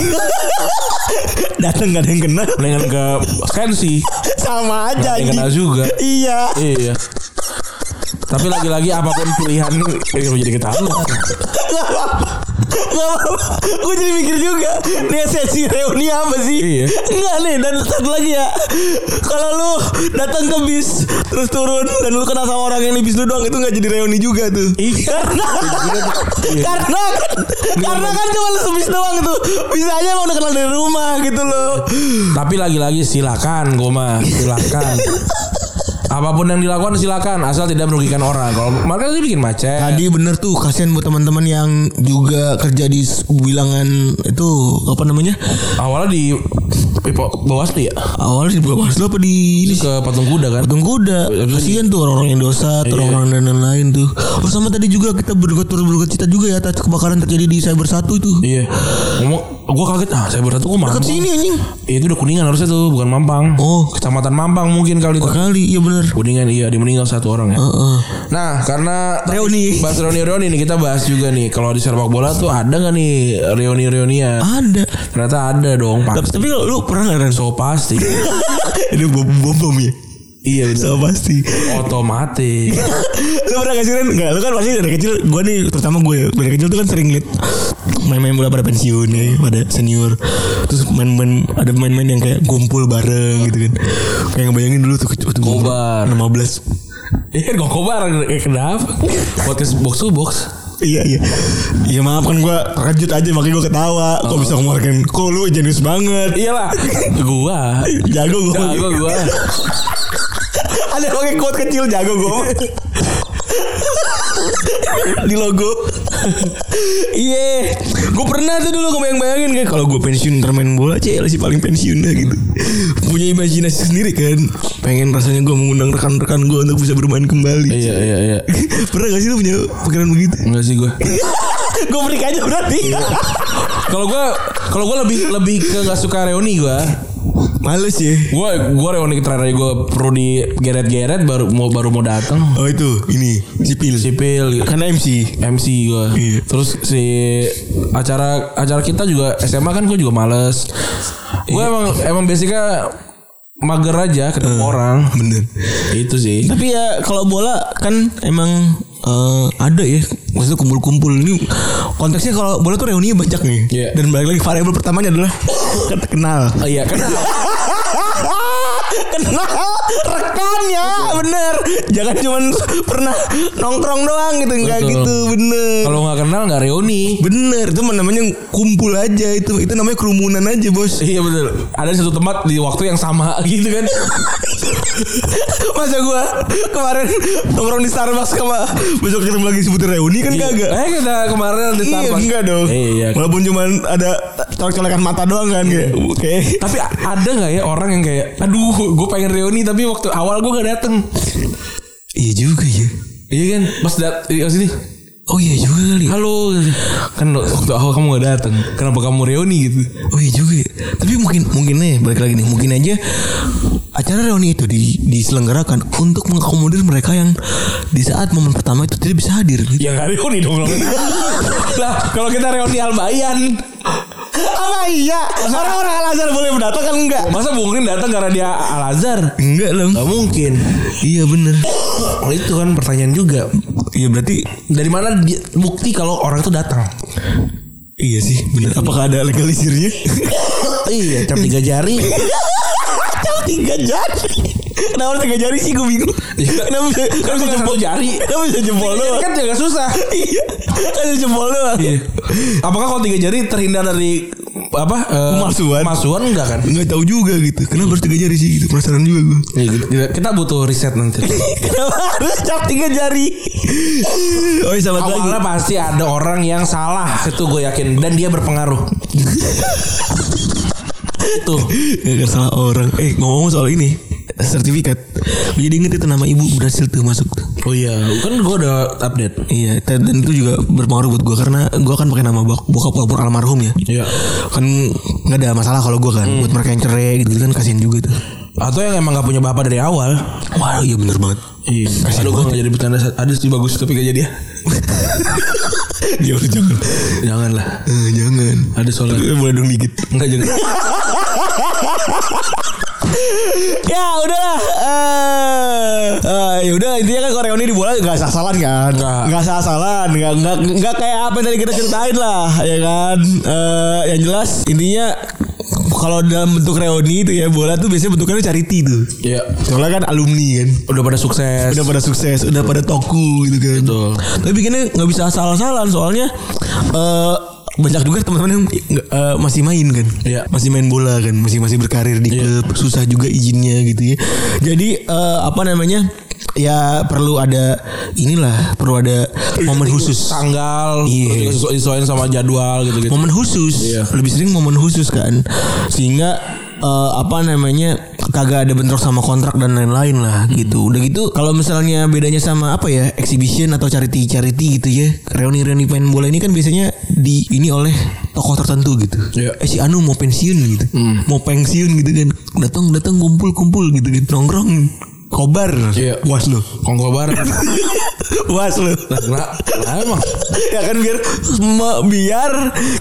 Speaker 4: Datang nggak ada yang kenal,
Speaker 2: Mendingan ke Skensi.
Speaker 4: sama aja.
Speaker 2: Yang kenal
Speaker 4: anjing.
Speaker 2: juga.
Speaker 4: Iya.
Speaker 2: Iya. Tapi lagi-lagi apapun pilihan lu eh, lu jadi ketahuan.
Speaker 4: Gak apa-apa Gak apa-apa Gue jadi mikir juga Nih sesi reuni apa sih
Speaker 2: Iya.
Speaker 4: Enggak nih Dan satu lagi ya Kalau lu datang ke bis Terus turun Dan lu kenal sama orang yang di bis lu doang Itu gak jadi reuni juga tuh Karena Karena kan Karena kan cuma lu sebis doang tuh Bisa aja emang udah kenal dari rumah gitu loh
Speaker 2: Tapi lagi-lagi silakan gue mah, silakan. Apapun yang dilakukan silakan asal tidak merugikan orang. Kalau makanya dia bikin macet.
Speaker 4: Tadi bener tuh kasihan buat teman-teman yang juga kerja di bilangan itu apa namanya
Speaker 2: Awalnya di bawah ya
Speaker 4: awalnya di bawah apa di ini sih?
Speaker 2: ke patung kuda kan.
Speaker 4: Patung kuda Kasian tuh orang-orang yang dosa Orang-orang dan lain-lain tuh Oh sama tadi juga kita berduka turut berduka cita juga ya Atas kebakaran terjadi di Cyber 1 itu
Speaker 2: Iya. Ngomong gue kaget ah saya berarti gue
Speaker 4: Ke
Speaker 2: mampang.
Speaker 4: sini anjing
Speaker 2: Ya, itu udah kuningan harusnya tuh bukan mampang.
Speaker 4: Oh.
Speaker 2: kecamatan Mampang mungkin kali itu.
Speaker 4: Kali iya bener
Speaker 2: Kuningan iya dia meninggal satu orang ya.
Speaker 4: Heeh.
Speaker 2: Nah karena
Speaker 4: Reuni
Speaker 2: bahas reuni reuni nih kita bahas juga nih kalau di sepak bola tuh ada nggak nih reuni reunian?
Speaker 4: Ada
Speaker 2: Ternyata ada dong
Speaker 4: Tapi,
Speaker 2: pak.
Speaker 4: tapi lu- lu pernah gak Ren?
Speaker 2: So pasti.
Speaker 4: Ini bom-bom ya
Speaker 2: iya bener.
Speaker 4: So pasti
Speaker 2: Otomatis.
Speaker 4: lu pernah gak sih Ren? Enggak, lu kan pasti dari kecil Gue nih, terutama gue ya Dari kecil tuh kan sering liat Main-main bola pada pensiun ya Pada senior Terus main-main Ada main-main yang kayak Kumpul bareng gitu kan Kayak ngebayangin dulu tuh waktu gua umur
Speaker 2: Kobar.
Speaker 4: 16
Speaker 2: Iya kan kok bareng Eh, kenapa? Podcast box to box.
Speaker 4: Iya iya Iya maaf kan gue terkejut aja makanya gue ketawa Kok bisa ngeluarkan Kok lu jenius banget
Speaker 2: Iyalah. Gua.
Speaker 4: Jago gue
Speaker 2: Jago gua.
Speaker 4: Ada pakai quote kecil jago gue di logo. Iya, gue pernah tuh dulu ngebayang-bayangin kayak kalau gue pensiun ntar main bola cel si paling pensiun dah gitu. Punya imajinasi sendiri kan. Pengen rasanya gue mengundang rekan-rekan gue untuk bisa bermain kembali.
Speaker 2: iya iya iya.
Speaker 4: pernah gak sih lu punya pikiran begitu? Iya.
Speaker 2: Enggak sih gue.
Speaker 4: gue break aja berarti.
Speaker 2: Kalau gue kalau gue lebih lebih ke nggak suka reuni gue.
Speaker 4: Males ya.
Speaker 2: Gue gue reuni terakhir gue perlu di geret-geret baru mau baru mau datang.
Speaker 4: Oh itu ini sipil.
Speaker 2: Sipil gitu.
Speaker 4: Karena MC.
Speaker 2: MC gue
Speaker 4: Iya.
Speaker 2: Terus si acara acara kita juga SMA kan gue juga males. Gue emang emang basicnya mager aja ketemu orang.
Speaker 4: Bener.
Speaker 2: Itu sih.
Speaker 4: Tapi ya kalau bola kan emang eh, ada ya maksudnya kumpul-kumpul ini konteksnya kalau bola tuh reuninya banyak nih
Speaker 2: Iya.
Speaker 4: dan balik lagi variabel pertamanya adalah kenal
Speaker 2: Oh, iya kan
Speaker 4: kenal rekannya ya. bener jangan cuman pernah nongkrong doang gitu enggak
Speaker 2: Betul.
Speaker 4: gitu bener
Speaker 2: kalau nggak kenal nggak reuni.
Speaker 4: bener itu mah namanya kumpul aja itu itu namanya kerumunan aja bos
Speaker 2: Iya betul. Ada satu tempat di waktu yang sama gitu kan.
Speaker 4: masa gua kemarin nongkrong di Starbucks sama besok ketemu lagi sebutin reuni kan kagak
Speaker 2: Eh kita kemarin ada
Speaker 4: Iya
Speaker 2: Starbucks.
Speaker 4: enggak dong.
Speaker 2: Iya.
Speaker 4: Walaupun cuman ada colek-colekan mata doang kan kayak. Oke.
Speaker 2: Tapi a- ada nggak ya orang yang kayak, aduh, gue pengen reuni tapi waktu awal gue gak dateng.
Speaker 4: Iya juga ya.
Speaker 2: Iya kan, pas dat, iya sini,
Speaker 4: Oh iya juga kali.
Speaker 2: halo, kan lo- waktu awal kamu gak dateng, kenapa kamu reuni gitu?
Speaker 4: Oh iya juga. ya. Tapi mungkin mungkin nih balik lagi nih mungkin aja acara reuni itu di, diselenggarakan untuk mengakomodir mereka yang di saat momen pertama itu tidak bisa hadir. Gitu.
Speaker 2: Ya gak reuni dong. lah, kalau kita reuni Albayan,
Speaker 4: Apa iya? Orang-orang Al Azhar boleh berdatang kan enggak?
Speaker 2: masa mungkin datang karena dia Al Azhar?
Speaker 4: Enggak dong.
Speaker 2: Gak mungkin.
Speaker 4: Iya bener.
Speaker 2: itu kan pertanyaan juga.
Speaker 4: Iya berarti
Speaker 2: Dari mana dia, bukti kalau orang itu datang?
Speaker 4: Iya sih bener. Apakah ada legalisirnya?
Speaker 2: iya, cap tiga jari.
Speaker 4: Kenapa tiga jari? Kenapa harus tiga jari sih gue bingung.
Speaker 2: Iya.
Speaker 4: Kenapa bisa kenapa
Speaker 2: Kenapa
Speaker 4: bisa jempol
Speaker 2: satu jari?
Speaker 4: Kenapa bisa jempol doang?
Speaker 2: kan juga susah.
Speaker 4: Iya. Kan bisa jempol doang.
Speaker 2: Iya. Apakah kalau tiga jari terhindar dari apa? eh,
Speaker 4: Kemasuhan.
Speaker 2: Kemasuhan enggak kan?
Speaker 4: Enggak tahu juga gitu. Kenapa harus tiga jari sih gitu? Penasaran juga gue.
Speaker 2: Iya, kita- Kita butuh riset nanti.
Speaker 4: Kenapa harus cap tiga jari? Oh iya sahabat lagi.
Speaker 2: Awalnya pasti ada orang yang salah, itu gue yakin dan dia berpengaruh. itu.
Speaker 4: Gak salah orang. Eh ngomong soal ini sertifikat. Gue Jadi inget itu nama ibu berhasil tuh masuk tuh.
Speaker 2: Oh iya, kan gue udah update.
Speaker 4: Iya, dan dan itu juga berpengaruh buat gue karena gue kan pakai nama bok- bokap walaupun almarhum ya.
Speaker 2: Iya.
Speaker 4: kan nggak ada masalah kalau gue kan buat mereka yang cerai gitu kan kasihan juga tuh
Speaker 2: Atau yang emang gak punya bapak dari awal.
Speaker 4: wah iya bener banget
Speaker 2: Iya. Aduh gue gak jadi bercanda. Ada sih bagus tapi gak jadi ya. Iya,
Speaker 4: ya udah jangan
Speaker 2: Janganlah.
Speaker 4: Eh, jangan
Speaker 2: Ada soalnya.
Speaker 4: Eh, boleh dong dikit
Speaker 2: Enggak jadi.
Speaker 4: ya udahlah Eh, eh, ya udah intinya kan kalau reuni di bola nggak salah salan kan
Speaker 2: Nggak.
Speaker 4: nggak salah salan nggak nggak nggak kayak apa yang tadi kita ceritain lah ya kan Eh, yang jelas intinya kalau dalam bentuk reuni itu ya bola tuh biasanya bentukannya charity tuh
Speaker 2: Iya.
Speaker 4: soalnya kan alumni kan
Speaker 2: Udah pada sukses.
Speaker 4: udah pada sukses, udah pada toku gitu kan.
Speaker 2: Betul.
Speaker 4: Tapi bikinnya nggak bisa asal-asalan soalnya eh banyak juga teman-teman yang nggak- eh, masih main kan,
Speaker 2: Iya.
Speaker 4: masih main bola kan, masih masih berkarir di klub, susah juga izinnya gitu ya. Jadi eh, apa namanya? Ya perlu ada inilah, perlu ada momen
Speaker 2: Iya.
Speaker 4: khusus.
Speaker 2: tanggal
Speaker 4: Iya.
Speaker 2: terus disesu- disesuaikan sama jadwal gitu gitu
Speaker 4: Momen khusus,
Speaker 2: Iya.
Speaker 4: lebih sering momen khusus kan. Sehingga eh, apa namanya? kagak ada bentrok sama kontrak dan lain-lain lah
Speaker 2: Hmm.
Speaker 4: gitu. Udah gitu kalau misalnya bedanya sama apa ya? exhibition atau charity charity gitu ya. Reuni-reuni pemain bola ini kan biasanya di ini oleh tokoh tertentu gitu.
Speaker 2: Iya. Hmm.
Speaker 4: Eh si Anu mau pensiun gitu. Mau pensiun gitu kan. Datang-datang kumpul-kumpul gitu kan. Nongkrong kobar.
Speaker 2: Iya.
Speaker 4: Puas lo.
Speaker 2: Kongkobar
Speaker 4: Puas lo.
Speaker 2: nah, nah emang
Speaker 4: ya kan biar me- biar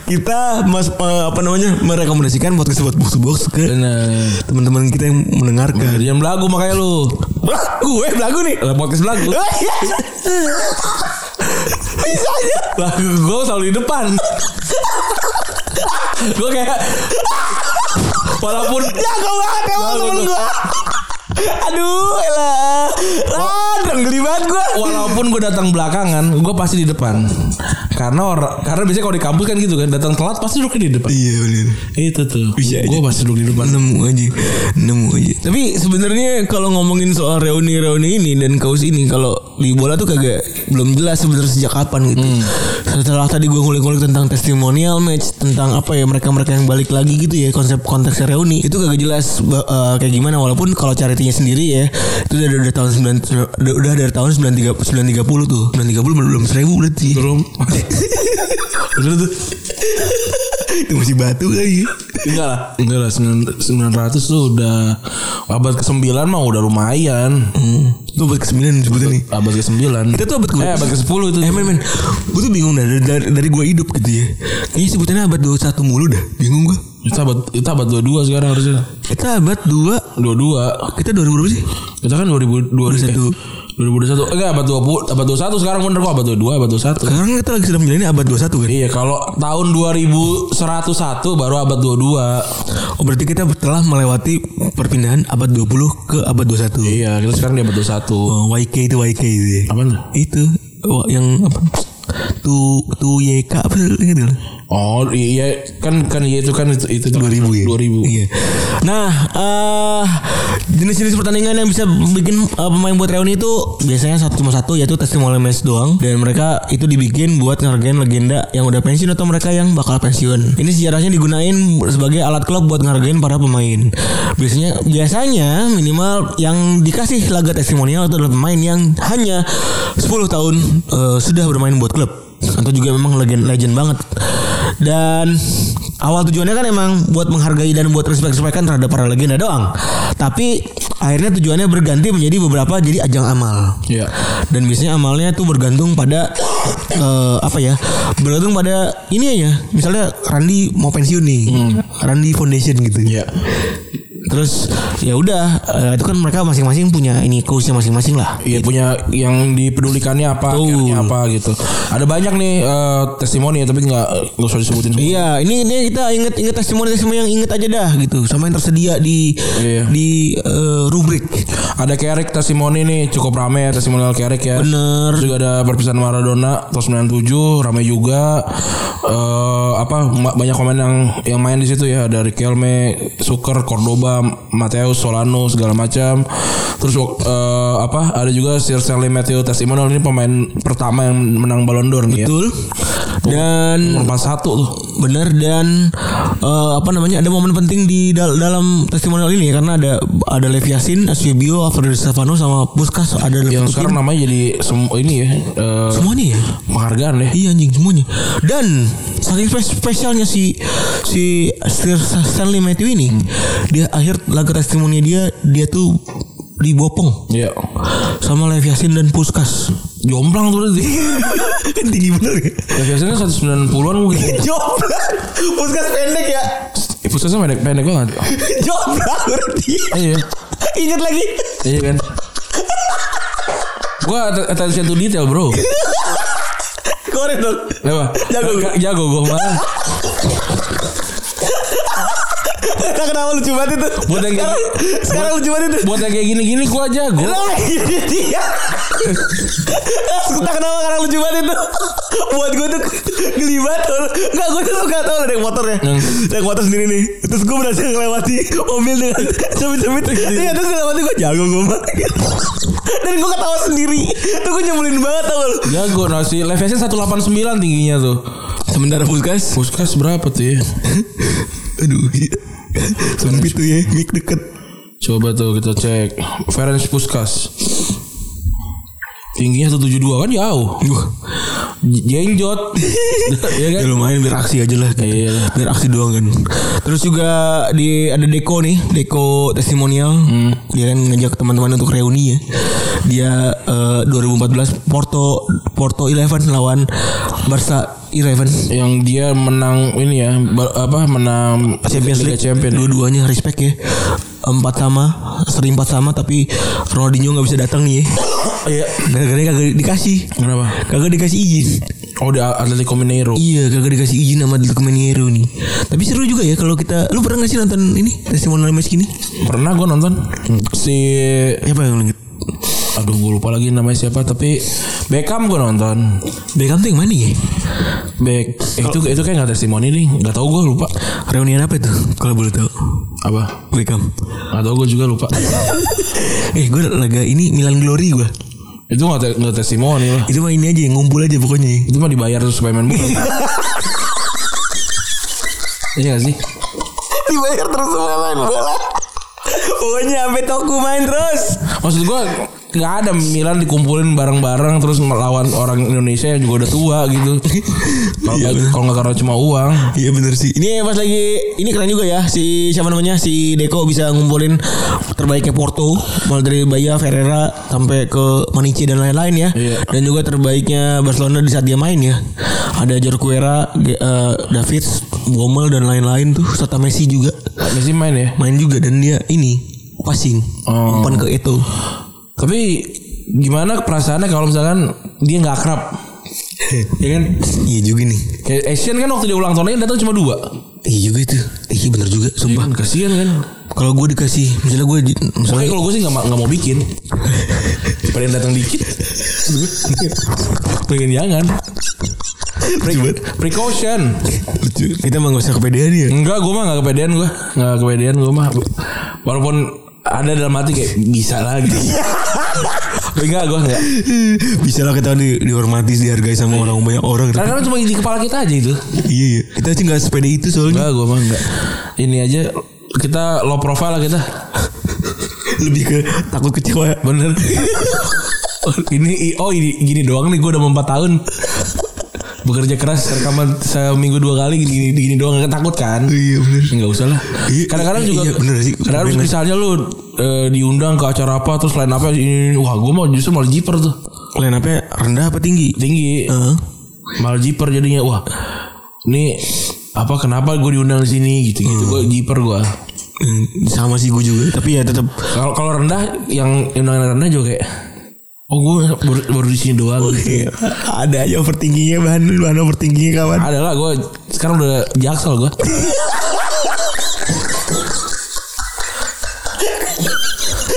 Speaker 4: kita mas me- apa namanya merekomendasikan podcast buat box box ke
Speaker 2: bener
Speaker 4: teman-teman kita yang mendengarkan.
Speaker 2: Jangan eh, belagu makanya lu
Speaker 4: Belagu, eh belagu nih.
Speaker 2: Lah podcast belagu
Speaker 4: Bisa aja.
Speaker 2: Belagu gue selalu di depan Gue kayak Walaupun
Speaker 4: Jago banget emang temen gue. Aduh, elah. Ran, geli banget gue.
Speaker 2: walaupun gue datang belakangan, gue pasti di depan. Karena orang, karena biasanya kalau di kampus kan gitu kan, datang telat pasti duduknya di depan.
Speaker 4: Iya bener Iya.
Speaker 2: Itu tuh.
Speaker 4: Bisa
Speaker 2: Gue
Speaker 4: aja.
Speaker 2: pasti duduk di depan.
Speaker 4: Nemu aja Nemu aja Tapi sebenarnya kalau ngomongin soal reuni-reuni ini Dan kaos ini Kalau di bola tuh kagak Belum jelas sebenarnya sejak kapan gitu Setelah tadi gue ngulik-ngulik tentang testimonial match Tentang apa ya mereka-mereka yang balik lagi gitu ya Konsep konteks reuni Itu kagak jelas ba- eh, kayak gimana Walaupun kalau charity-nya sendiri ya Itu udah dari tahun 9, udah, udah dari tahun 930, 930 tuh 930 belum, belum seribu berarti
Speaker 2: Belum. Bener tuh.
Speaker 4: Itu masih batu lagi
Speaker 2: Enggak lah. Enggak lah. 900 tuh udah abad ke-9 mah udah lumayan.
Speaker 4: Hmm. Itu buat ke-9 sebetulnya nih
Speaker 2: Abad ke-9.
Speaker 4: Kita tuh abad ke-
Speaker 2: Eh, abad ke-10 itu.
Speaker 4: Eh men men Gue tuh bingung dah Dari, dari, dari gue hidup gitu ya Kayaknya sebutannya abad 21 mulu dah Bingung gue
Speaker 2: Itu abad itu abad 22 sekarang harusnya.
Speaker 4: Kita abad 2
Speaker 2: 22.
Speaker 4: Kita 2000 berapa sih?
Speaker 2: Kita kan 2000
Speaker 4: 21.
Speaker 2: 2021. Enggak abad 20, abad 21 sekarang bener kok abad 22, abad 21.
Speaker 4: Sekarang kita lagi sedang menjalani abad 21 kan
Speaker 2: Iya, kalau tahun 2101 baru abad 22.
Speaker 4: Oh berarti kita telah melewati perpindahan abad 20 ke abad 21
Speaker 2: Iya, kita sekarang di abad 21.
Speaker 4: oh, YK itu YK itu ya.
Speaker 2: Apaan tuh?
Speaker 4: Itu oh, Yang apa Tu Tu YK apa sih? Ingat nggak lu?
Speaker 2: Oh, iya kan kan iya itu kan itu, itu
Speaker 4: 2000 ya
Speaker 2: 2000.
Speaker 4: Iya. Nah eh, Jenis-jenis pertandingan yang bisa bikin eh, pemain buat reuni itu Biasanya satu cuma satu Yaitu testimoni match doang Dan mereka itu dibikin buat ngehargain legenda Yang udah pensiun atau mereka yang bakal pensiun Ini sejarahnya digunain sebagai alat klub buat ngehargain para pemain Biasanya biasanya minimal yang dikasih laga testimonial itu adalah pemain yang hanya 10 tahun eh, sudah bermain buat klub atau juga memang legend legend banget dan awal tujuannya kan emang buat menghargai dan buat respect respectan terhadap para legenda doang tapi akhirnya tujuannya berganti menjadi beberapa jadi ajang amal
Speaker 2: Iya.
Speaker 4: dan biasanya amalnya tuh bergantung pada eh, apa ya bergantung pada ini aja misalnya Randy mau pensiun nih Randy Foundation gitu
Speaker 2: Iya.
Speaker 4: terus ya udah eh, itu kan mereka masing-masing punya ini coachnya masing-masing lah
Speaker 2: Iya punya yang dipedulikannya apa,
Speaker 4: Betul.
Speaker 2: akhirnya apa gitu. Ada banyak nih eh, testimoni tapi nggak nggak usah disebutin semua.
Speaker 4: Iya, ini ini kita inget inget testimoni testimoni yang inget aja dah gitu, sama yang tersedia di
Speaker 2: Iya.
Speaker 4: di eh, rubrik.
Speaker 2: Ada Carrick testimoni nih cukup rame ya testimonial Carrick ya.
Speaker 4: Bener.
Speaker 2: Terus juga ada perpisahan Maradona tahun 97 rame juga. Eh apa ma- banyak komen yang yang main di situ ya ada Riquelme, Suker, Cordoba, Mateus, Solano segala macam. Terus wak- eh, apa ada juga Sir Stanley Matthew testimonial ini pemain pertama yang menang Ballon d'Or nih ya.
Speaker 4: Betul. Dan
Speaker 2: Nomor 41 tuh.
Speaker 4: bener dan eh, apa namanya ada momen penting di dal- dalam testimonial ini ya, karena ada ada Lev Yasin, Asfibio, Alfredo Di Stefano sama Puskas ada
Speaker 2: Yang
Speaker 4: Leputin.
Speaker 2: sekarang namanya jadi sem- ini ya. eh,
Speaker 4: semua nih ya.
Speaker 2: penghargaan ya.
Speaker 4: Iya anjing semuanya. Dan saking spes- spesialnya si si Sir Stanley Matthew ini,
Speaker 2: Hmm.
Speaker 4: dia akhir laga testimoni dia dia tuh dibopong
Speaker 2: Iya.
Speaker 4: sama Lev Yasin dan Puskas.
Speaker 2: Jomplang tuh dia.
Speaker 4: Kan tinggi bener ya.
Speaker 2: Biasanya 190-an mungkin.
Speaker 4: Jobrak Puskas pendek ya
Speaker 2: Eh, Puskesnya pendek pendek banget.
Speaker 4: Jobrak berarti
Speaker 2: Iya,
Speaker 4: Ingat lagi
Speaker 2: iya kan. Gua att- attention to detail bro.
Speaker 4: Korek dong
Speaker 2: Apa?
Speaker 4: Jago.
Speaker 2: Nggak- jago gue malah.
Speaker 4: Nah, Kenapa lucu banget itu
Speaker 2: Buat yang-
Speaker 4: Sekarang, sekarang lucu banget itu
Speaker 2: Buat yang kayak gini-gini gua jago.
Speaker 4: Nah, ini dia. Entah kenapa karena lucu banget itu Buat gue tuh geli banget Enggak gue tuh suka tau ada yang motornya
Speaker 2: Hmm.
Speaker 4: Ada yang ya. motor sendiri nih Terus gue berhasil ngelewati mobil dengan Sempit-sempit Iya terus ngelewati gue jago gue mah Dan gue ketawa sendiri Itu gue nyebelin banget tau lu
Speaker 2: Jago nasi. Levelnya 189 tingginya tuh.
Speaker 4: Sementara Puskas
Speaker 2: Puskes berapa tuh ya?
Speaker 4: Aduh iya. Sempit tuh ya Mik deket
Speaker 2: Coba tuh kita cek. Ferenc Puskas. Tingginya 172 kan jauh.
Speaker 4: Wah
Speaker 2: J- Jengjot. Iya kan?
Speaker 4: Ya lumayan biar aksi aja lah gitu.
Speaker 2: Iya.
Speaker 4: Biar aksi doang kan Terus juga di ada Deko nih Deko testimonial
Speaker 2: Hmm.
Speaker 4: Dia kan ngajak teman-teman untuk reuni ya Dia eh, 2014 Porto Porto Eleven lawan Barca Eleven
Speaker 2: Yang dia menang ini ya, ba- apa menang
Speaker 4: Champions League
Speaker 2: Champion.
Speaker 4: Dua-duanya respect ya Empat sama Seri empat sama Tapi Ronaldinho gak bisa datang nih ya
Speaker 2: Iya.
Speaker 4: Gara-gara kagak dikasih
Speaker 2: Kenapa?
Speaker 4: Kagak dikasih izin
Speaker 2: Oh di Atletico Mineiro.
Speaker 4: Iya kagak dikasih izin sama Atletico Mineiro nih Tapi seru juga ya kalau kita Lu pernah gak sih nonton ini Testimonial match gini
Speaker 2: Pernah gue nonton si
Speaker 4: Siapa yang langit
Speaker 2: eh aduh gue lupa lagi namanya siapa tapi Beckham gue nonton
Speaker 4: Beckham tuh yang mana ya?
Speaker 2: Beck eh, itu itu kayak nggak testimoni nih nggak tahu gue lupa
Speaker 4: Reunian apa itu? Kalau boleh tahu.
Speaker 2: apa
Speaker 4: Beckham.
Speaker 2: nggak tahu gue juga lupa
Speaker 4: Eh gue laga ini Milan Glory gue.
Speaker 2: itu nggak te- nggak testimoni lah
Speaker 4: Itu mah ini aja yang ngumpul aja pokoknya.
Speaker 2: itu mah dibayar terus supaya main bola iya gak sih
Speaker 4: Dibayar terus semua main bola. Pokoknya sampai toko main terus.
Speaker 2: maksud gue nggak ada Milan dikumpulin bareng-bareng terus melawan orang Indonesia yang juga udah tua gitu kalau nggak- kalau nggak karena cuma uang
Speaker 4: Iya bener sih. Ini pas lagi ini keren juga ya si siapa namanya si Deco bisa ngumpulin terbaiknya Porto mulai dari Baya Ferreira sampai ke Manici dan lain-lain ya.
Speaker 2: Iya.
Speaker 4: Dan juga terbaiknya Barcelona di saat dia main ya. Ada Jorquera, David, Gomel eh, dan lain-lain tuh serta Messi juga
Speaker 2: Messi main ya
Speaker 4: main juga dan dia ini passing
Speaker 2: Oh.
Speaker 4: umpan ke itu.
Speaker 2: tapi gimana perasaannya kalau misalkan dia nggak akrab ya kan
Speaker 4: Iya juga nih.
Speaker 2: Kayak Asian kan waktu dia ulang tahunnya yang datang cuma dua
Speaker 4: Iya juga itu. Iya bener juga sumpah.
Speaker 2: kan kasihan kan
Speaker 4: Kalau gue dikasih misalnya gue di-
Speaker 2: Makanya
Speaker 4: misalnya
Speaker 2: kalau gue sih nggak ma- nggak mau bikin Pada yang datang dikit Pengen jangan Precaution
Speaker 4: Lucu. Kita mah gak usah kepedean ya.
Speaker 2: Enggak gue mah gak kepedean gue Gak kepedean gue mah Walaupun ada dalam hati kayak bisa lagi Tapi enggak gue enggak
Speaker 4: Bisa lah kita di, dihormati dihargai sama orang banyak orang gitu.
Speaker 2: Karena kan cuma di kepala kita aja itu
Speaker 4: Iya iya Kita sih gak sepede itu
Speaker 2: Enggak
Speaker 4: soalnya
Speaker 2: gue mah enggak Ini aja kita low profile lah kita
Speaker 4: Lebih ke takut kecewa
Speaker 2: Bener ini oh ini gini doang nih gue udah 4 tahun bekerja keras rekaman seminggu dua kali gini gini, gini doang nggak takut kan
Speaker 4: Iya bener
Speaker 2: nggak usah lah
Speaker 4: Iya,
Speaker 2: kadang-kadang
Speaker 4: iya,
Speaker 2: juga
Speaker 4: iya, bener sih.
Speaker 2: kadang-kadang
Speaker 4: Bener.
Speaker 2: misalnya lu eh, diundang ke acara apa terus lain apa ini ini. wah gue mau justru malah jiper tuh
Speaker 4: Line up rendah apa tinggi?
Speaker 2: tinggi
Speaker 4: Heeh.
Speaker 2: malah jiper jadinya wah ini apa kenapa gue diundang di sini gitu gitu gue jiper gue
Speaker 4: Hmm, Sama sih gue juga Tapi ya tetap
Speaker 2: kalau kalau rendah yang undangan rendah juga kayak oh gue baru, baru di sini doang
Speaker 4: Ada aja overtingginya Bahan, bahan overtingginya kawan
Speaker 2: Ada lah gue sekarang udah jaksel gue.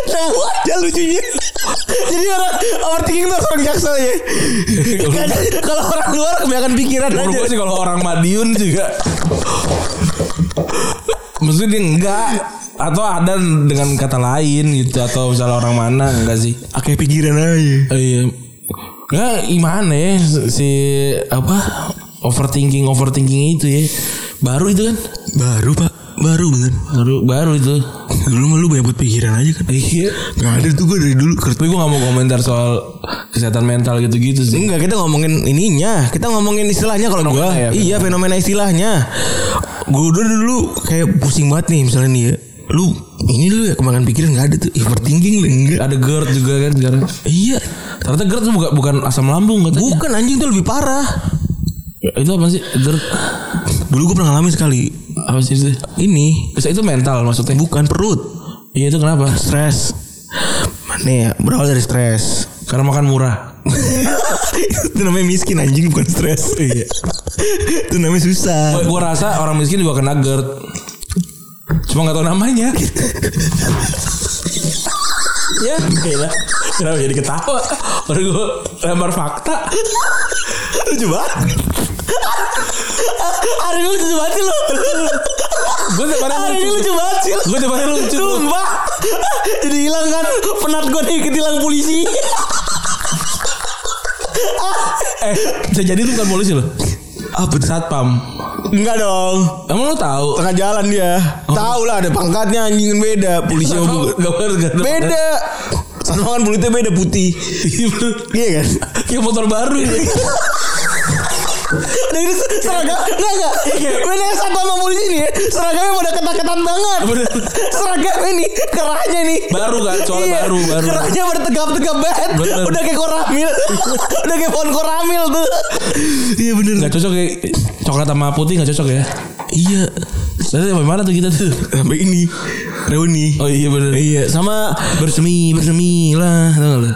Speaker 4: Tahu aja lucunya Jadi orang overthinking tuh orang jaksel ya Kan, Kalau orang luar kebanyakan pikiran
Speaker 2: Menurut
Speaker 4: aja
Speaker 2: gue sih kalau orang Madiun juga. Maksudnya dia enggak atau ada dengan kata lain gitu atau misalnya orang mana enggak sih?
Speaker 4: Pakai pikiran aja
Speaker 2: Eh, Iya. Enggak gimana ya si apa overthinking overthinking itu ya. Baru itu kan?
Speaker 4: Baru pak Baru bener
Speaker 2: Baru baru itu.
Speaker 4: Dulu mah lu banyak buat pikiran aja kan
Speaker 2: Iya.
Speaker 4: Gak ada tuh gue dari dulu kerja
Speaker 2: Tapi gue gak mau komentar soal kesehatan mental gitu-gitu sih.
Speaker 4: Enggak kita ngomongin ininya Kita ngomongin istilahnya kalau gue
Speaker 2: Fenomena ya,
Speaker 4: Iya fenomena istilahnya Gue dulu dulu kayak pusing banget nih misalnya nih ya Lu ini lu ya kemakan pikiran gak ada tuh Overthinking lu enggak
Speaker 2: Ada GERD juga kan sekarang.
Speaker 4: Iya
Speaker 2: Ternyata GERD tuh bukan, bukan asam lambung katanya.
Speaker 4: Bukan anjing tuh lebih parah
Speaker 2: Ya, Itu apa sih? GERD.
Speaker 4: Dulu gue pernah ngalamin sekali
Speaker 2: Apa sih itu?
Speaker 4: Ini
Speaker 2: Bisa itu mental maksudnya.
Speaker 4: bukan perut
Speaker 2: Iya itu kenapa?
Speaker 4: Stres Mana ya berawal dari stres
Speaker 2: Karena makan murah.
Speaker 4: Itu namanya miskin anjing bukan stres Iya Itu namanya susah
Speaker 2: Gua gua rasa orang miskin juga kena GERD. Cuma nggak tahu namanya. ya, gila. Kenapa jadi ketawa? Baru gue lempar fakta.
Speaker 4: Lucu banget Hari ini lucu banget sih lu
Speaker 2: Gue tiap hari
Speaker 4: Hari ini
Speaker 2: lucu.
Speaker 4: lucu banget sih lu.
Speaker 2: Gue tiap hari lucu.
Speaker 4: Sumpah Jadi hilang kan Penat gue nih ketilang polisi
Speaker 2: Eh, bisa jadi itu bukan polisi loh.
Speaker 4: Apa tuh?
Speaker 2: Satpam.
Speaker 4: Enggak dong
Speaker 2: Emang lo tahu?
Speaker 4: Tengah jalan dia
Speaker 2: Oh.
Speaker 4: Tahu lah ada pangkatnya anjing kan beda
Speaker 2: Iya,
Speaker 4: Polisi sama bukan
Speaker 2: Gak bener gak bener.
Speaker 4: Beda Sama kan kulitnya beda putih Iya kan
Speaker 2: Kayak motor baru ya.
Speaker 4: Dan ini seragam Enggak enggak
Speaker 2: Iya.
Speaker 4: Beda satu sama polisi nih ya Seragamnya pada ketat-ketan banget
Speaker 2: Bener.
Speaker 4: Seragam ini Kerahnya nih
Speaker 2: Baru kan, soalnya
Speaker 4: Iya,
Speaker 2: baru, baru.
Speaker 4: Kerahnya pada tegap-tegap banget
Speaker 2: Bener.
Speaker 4: Udah kayak koramil Udah kayak pohon koramil tuh Iya bener
Speaker 2: Gak cocok ya. Coklat sama putih gak cocok ya.
Speaker 4: Iya
Speaker 2: Tadi sampai mana tuh kita tuh?
Speaker 4: Sampai ini Reuni
Speaker 2: Oh iya bener.
Speaker 4: Iya sama
Speaker 2: Bersemi, bersemi lah. Tau gak lo?